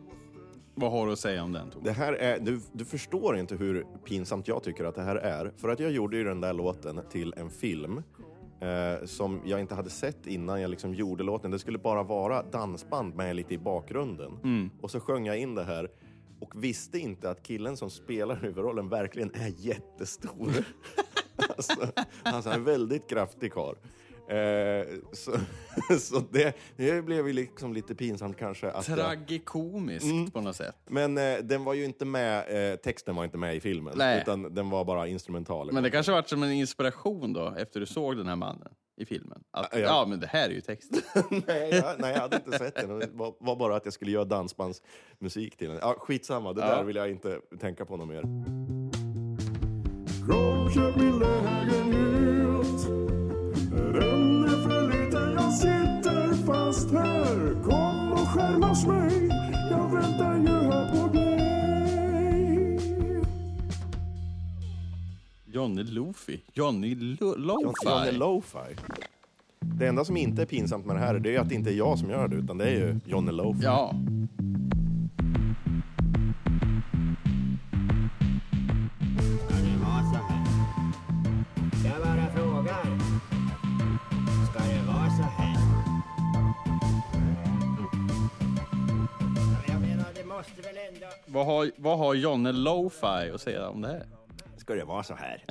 Speaker 4: Vad har du att säga om den? Tom?
Speaker 1: Det här är, du, du förstår inte hur pinsamt jag tycker att det här är. För att jag gjorde ju den där låten till en film eh, som jag inte hade sett innan jag liksom gjorde låten. Det skulle bara vara dansband med lite i bakgrunden.
Speaker 10: Mm.
Speaker 1: Och så sjöng jag in det här och visste inte att killen som spelar huvudrollen verkligen är jättestor. alltså, alltså, han är en väldigt kraftig karl. Eh, så så det, det blev ju liksom lite pinsamt kanske. Att jag-
Speaker 4: Tragikomiskt på något sätt.
Speaker 1: men eh, den var ju inte med, eh, texten var inte med i filmen.
Speaker 4: Nej.
Speaker 1: Utan den var bara instrumental.
Speaker 4: Men det kanske varit som en inspiration då, efter du såg den här mannen i filmen. Att, ja.
Speaker 1: Ja.
Speaker 4: men det här är ju texten.
Speaker 1: nej, jag, nej, jag hade inte sett den. Det var, var bara att jag skulle göra dansbandsmusik till den. Ja, skitsamma, det
Speaker 4: Ja.
Speaker 1: där vill jag inte tänka på något mer.
Speaker 10: Kom köp min lägenhet Den är för liten, jag sitter fast här Kom och skärmas mig Jag väntar ju här på dig
Speaker 4: Johnny Lofi. Johnny Lo- Lofi.
Speaker 1: Johnny Lo-Fi. Det enda som inte är pinsamt med det här det är att det inte är jag som gör det, utan det är ju Johnny Lo-Fi.
Speaker 4: Ja.
Speaker 18: Kan det vara så här? Jag bara frågar. Ska det vara så här? Ja, men Jag menar, det måste väl ändå...
Speaker 4: Vad har, vad har Johnny Lo-Fi att säga om det här?
Speaker 1: Ska det vara så här?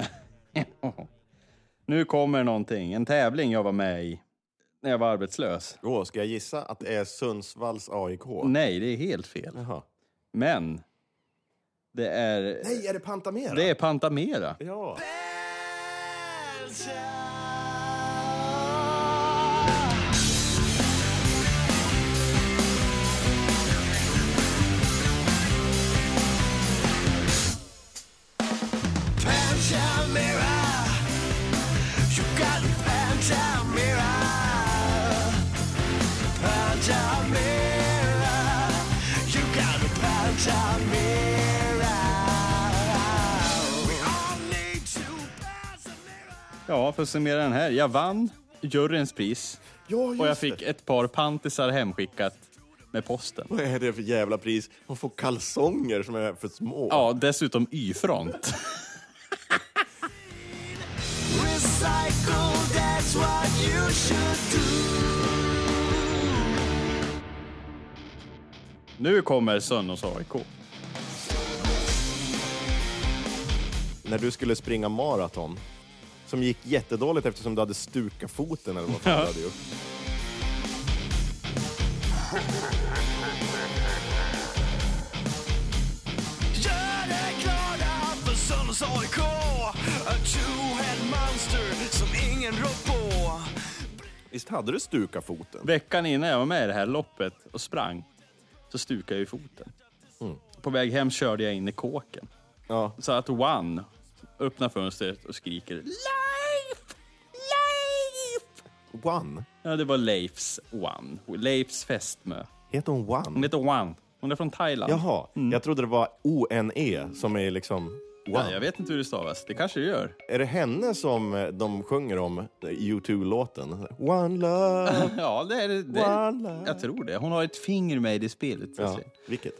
Speaker 4: nu kommer någonting. En tävling jag var med i när jag var arbetslös.
Speaker 1: Åh, ska jag gissa att det är Sundsvalls AIK?
Speaker 4: Nej, det är helt fel. Men det är...
Speaker 1: Nej, är det Pantamera?
Speaker 4: Det är Pantamera.
Speaker 1: Ja.
Speaker 10: Pantamera You got Pantamera Pantamera You got Pantamera We all need to
Speaker 4: Ja, för att summera den här. Jag vann juryns pris och jag fick ett par pantisar hemskickat med posten.
Speaker 1: Vad är det för jävla pris? Man får kalsonger som är för små.
Speaker 4: Ja, dessutom Y-front.
Speaker 10: recycle That's what you should do
Speaker 4: Nu kommer Sönnås AIK.
Speaker 1: när du skulle springa maraton som gick jättedåligt eftersom du hade stukat foten eller vad fan
Speaker 4: Ja.
Speaker 1: du hade gjort.
Speaker 10: Gör dig glada för Sunds AIK A two-head monster som ingen rår på
Speaker 1: Visst hade du stukat foten?
Speaker 4: Veckan innan jag var med i det här loppet och sprang så stukade jag ju foten. På väg hem körde jag in i kåken.
Speaker 1: Mm. Ja.
Speaker 4: Så att One, öppnar fönstret och skriker
Speaker 19: Life! Life!
Speaker 4: One? Ja, det var Leifs One. Leifs fästmö.
Speaker 1: Heter hon One?
Speaker 4: Hon heter One. Hon är från Thailand.
Speaker 1: Jaha, jag trodde det var O-N-E som är liksom... One.
Speaker 4: Ja, jag vet inte hur det stavas. Det kanske det gör.
Speaker 1: Är det henne som eh, de sjunger om, eh, U2-låten? One love.
Speaker 4: ja, det är det. det
Speaker 1: Voila.
Speaker 4: jag tror det. Hon har ett finger med i det spelet. så att
Speaker 1: Ja,
Speaker 4: säga.
Speaker 1: vilket?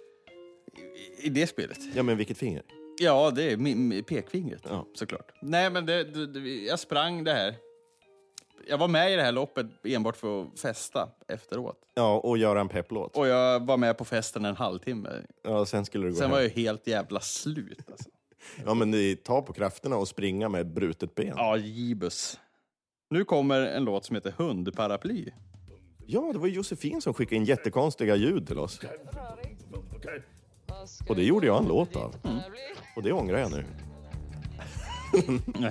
Speaker 4: I- I det spelet.
Speaker 1: Ja, men vilket finger?
Speaker 4: Ja, det är mi- mi- pekfingret såklart. Nej, men det, det, det, jag sprang det här. Jag var med i det här loppet enbart för att festa efteråt.
Speaker 1: Ja, och göra en pepplåt.
Speaker 4: Och jag var med på festen en halvtimme.
Speaker 1: Ja, sen skulle du gå
Speaker 4: Sen
Speaker 1: hem.
Speaker 4: var jag helt jävla slut. Alltså.
Speaker 1: Ja, men det är ta på krafterna och springa med brutet ben.
Speaker 4: Ja, gibus. Nu kommer en låt som heter Hundparaply.
Speaker 1: Ja, det var ju Josefin som skickade in jättekonstiga ljud till oss. Och det gjorde jag en låt av.
Speaker 4: Mm.
Speaker 1: Och det ångrar jag nu.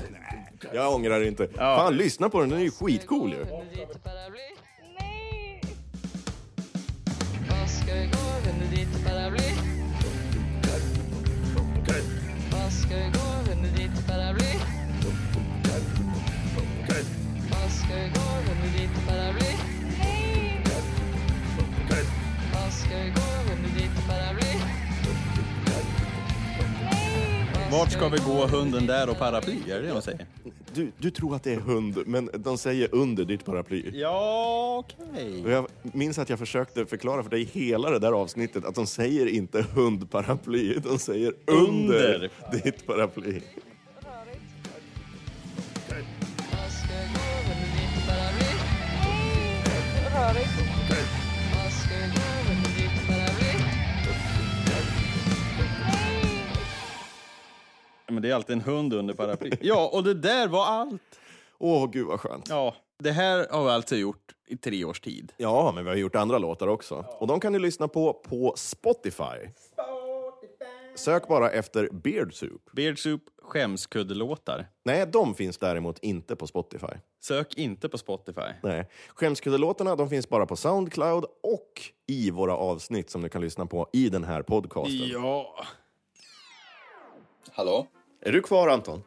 Speaker 1: jag ångrar inte. Fan, lyssna på den. Den är ju skitcool ju.
Speaker 19: Vad ska vi gå under ditt paraply? Vad ska vi gå under ditt paraply? Vad ska vi gå under ditt paraply? Vad ska vi gå under ditt paraply?
Speaker 4: Vart ska vi gå, hunden där och paraply? Är det det de säger?
Speaker 1: Du, du tror att det är hund, men de säger under ditt paraply.
Speaker 4: Ja, okej.
Speaker 1: Och jag minns att jag försökte förklara för dig hela det där avsnittet att de säger inte hundparaply, de säger under,
Speaker 4: Under.
Speaker 1: ditt paraply.
Speaker 19: Vad ska vi gå under ditt paraply? Vad ska vi gå under ditt paraply?
Speaker 4: Men det är alltid en hund under paraply. Ja, och det där var allt.
Speaker 1: Åh, gud vad skönt.
Speaker 4: Ja, det här har vi alltså gjort i tre års tid.
Speaker 1: Ja, men vi har gjort andra låtar också. Och de kan ni lyssna på på Spotify. Sök bara efter Beard Soup.
Speaker 4: Beard Soup skämskuddelåtar.
Speaker 1: Nej, de finns däremot inte på Spotify.
Speaker 4: Sök inte på Spotify.
Speaker 1: Nej. Skämskuddelåtarna de finns bara på Soundcloud och i våra avsnitt som du kan lyssna på i den här podcasten.
Speaker 4: Ja.
Speaker 3: Hallå?
Speaker 1: Är du kvar, Anton?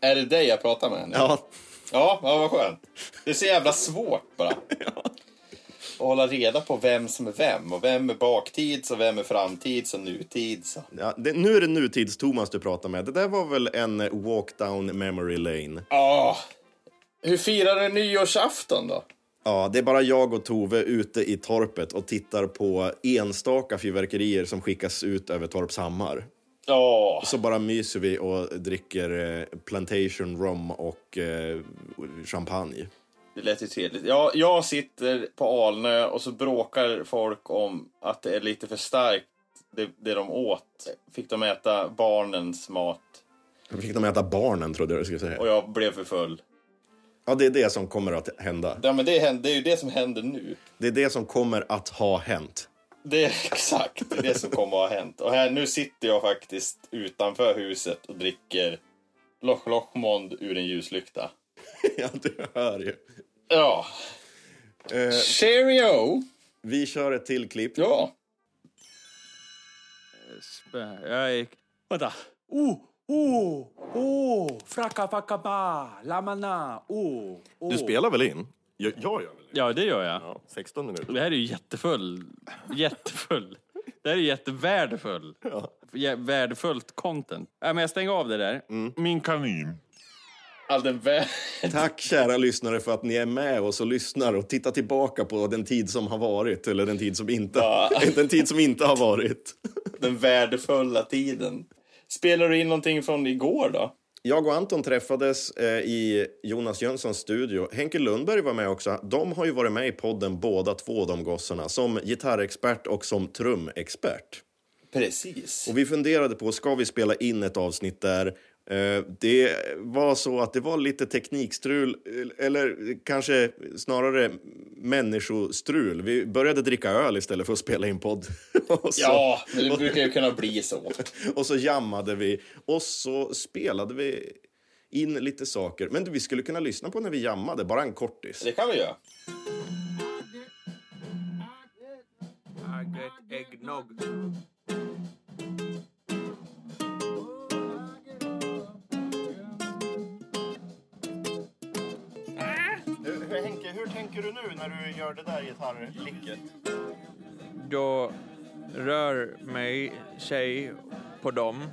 Speaker 3: Är det dig jag pratar med nu?
Speaker 1: Ja.
Speaker 3: Ja, ja vad skönt. Det är så jävla svårt bara. Att hålla reda på vem som är vem. Och vem är baktids och vem är framtids och nutids.
Speaker 1: Ja, det, nu är det nutids-Thomas du pratar med. Det där var väl en eh, walk down memory lane?
Speaker 3: Ja. Hur firar du nyårsafton då?
Speaker 1: Ja, det är bara jag och Tove ute i torpet och tittar på enstaka fyrverkerier som skickas ut över Torpshammar.
Speaker 3: Ja.
Speaker 1: Så bara myser vi och dricker eh, plantation rum och eh, champagne.
Speaker 3: Det lät ju trevligt. Jag, jag sitter på Alnö och så bråkar folk om att det är lite för starkt det, det de åt. Fick de äta barnens mat
Speaker 1: Fick de äta barnen, trodde jag du skulle säga.
Speaker 3: och jag blev för full.
Speaker 1: Ja, det är det som kommer att hända.
Speaker 3: Ja, men det, händer, det är ju det som händer nu.
Speaker 1: Det är det som kommer att ha hänt.
Speaker 3: Det är exakt det som kommer att ha hänt. Och här, nu sitter jag faktiskt utanför huset och dricker Loch Lochmond ur en ljuslykta.
Speaker 1: ja, du hör ju. Eh,
Speaker 3: Ja. Cheerio!
Speaker 1: Vi kör ett till klipp.
Speaker 3: Ja.
Speaker 4: Spä- Jag är... Vänta.
Speaker 20: Oh, oh, oh, fracka-facka-ba, lamana, oh, oh.
Speaker 1: Du spelar väl in? Jag, jag gör väl
Speaker 4: Ja, det gör jag.
Speaker 1: 16 minuter.
Speaker 4: Det här är ju jättefull. Jättefull. Det här är jättevärdefull. Ja. Värdefullt content. Ja, men jag stänger av det där. Min kanin.
Speaker 3: All den värld.
Speaker 1: Tack kära lyssnare för att ni är med oss och lyssnar och tittar tillbaka på den tid som har varit, eller den tid som inte, den tid som inte har varit.
Speaker 3: Den värdefulla tiden. Spelar du in någonting från igår då?
Speaker 1: Jag och Anton träffades eh, i Jonas Jönssons studio. Henke Lundberg var med också. De har ju varit med i podden båda två, de gossarna, som gitarrexpert och som trumexpert.
Speaker 3: Precis.
Speaker 1: Och vi funderade på, ska vi spela in ett avsnitt där? Eh, Det var så att det var lite teknikstrul, eh, eller kanske snarare människostrul. Vi började dricka öl istället för att spela in podd. Och så-
Speaker 3: Ja, men det brukar ju kunna bli så.
Speaker 1: och så jammade vi och så spelade vi in lite saker. Men du, vi skulle kunna lyssna på när vi jammade, bara en kortis.
Speaker 3: Det kan vi göra.
Speaker 20: I get eggnog.
Speaker 21: tänker du nu när du gör det där gitarrlicket?
Speaker 4: Då rör mig sig på dem.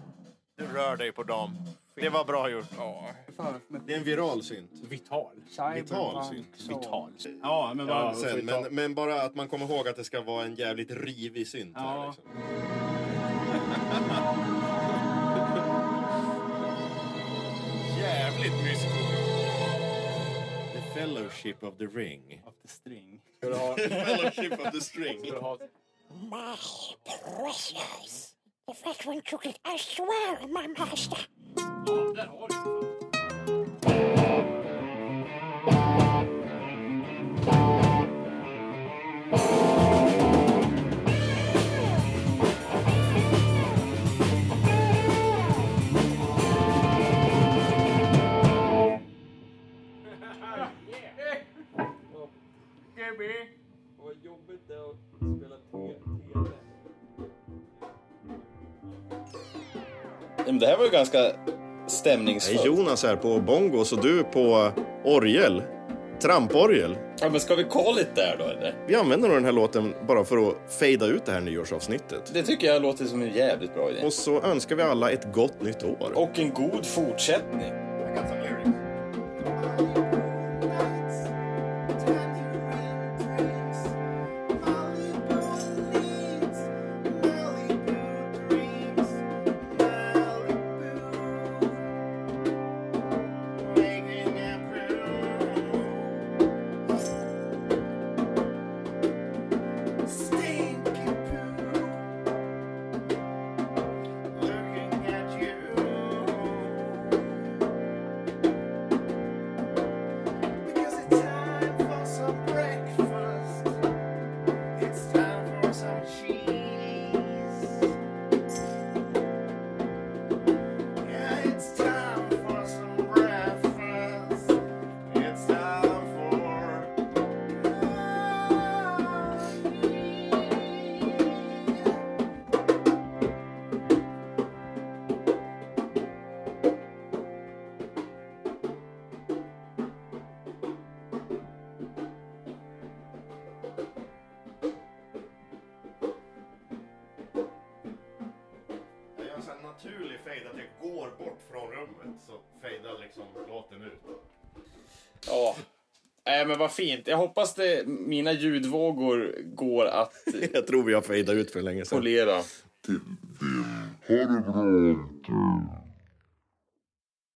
Speaker 21: Du rör dig på dem. Det var bra gjort.
Speaker 4: Ja.
Speaker 1: Det är en viral synt.
Speaker 11: Vital.
Speaker 1: Vital synt.
Speaker 11: Vital. Ja, men vad...
Speaker 1: Ja, sen, men, men bara att man kommer ihåg att det ska vara en jävligt rivig synt. här,
Speaker 11: Ja.
Speaker 1: liksom.
Speaker 21: Jävligt mysko.
Speaker 1: The fellowship of the ring.
Speaker 11: Of the string.
Speaker 1: Ska du ha-
Speaker 22: Fellowship of the
Speaker 1: string.
Speaker 11: Ska du ha...
Speaker 22: My precious! If that one took it, I swear, my master!
Speaker 11: Gubbe! Vad jobbigt det är att spela tv.
Speaker 3: Nej, Men det här var ju ganska stämningsfullt.
Speaker 1: Hej Jonas här på bongos och du på orgel. Tramporgel.
Speaker 3: Ja, men ska vi call it där då eller?
Speaker 1: Vi använder nog den här låten bara för att fejda ut det här nyårsavsnittet.
Speaker 3: Det tycker jag låter som en jävligt bra idé.
Speaker 1: Och så önskar vi alla ett gott nytt år.
Speaker 3: Och en god fortsättning.
Speaker 1: Jag gör en sån här naturlig fejd att jag går bort från rummet så fejdar liksom låten ut.
Speaker 3: Ja. Nej, men vad fint. Jag hoppas det, mina ljudvågor går att
Speaker 1: Jag tror vi har fejdat ut för länge sedan.
Speaker 3: polera.
Speaker 22: Ha det bra,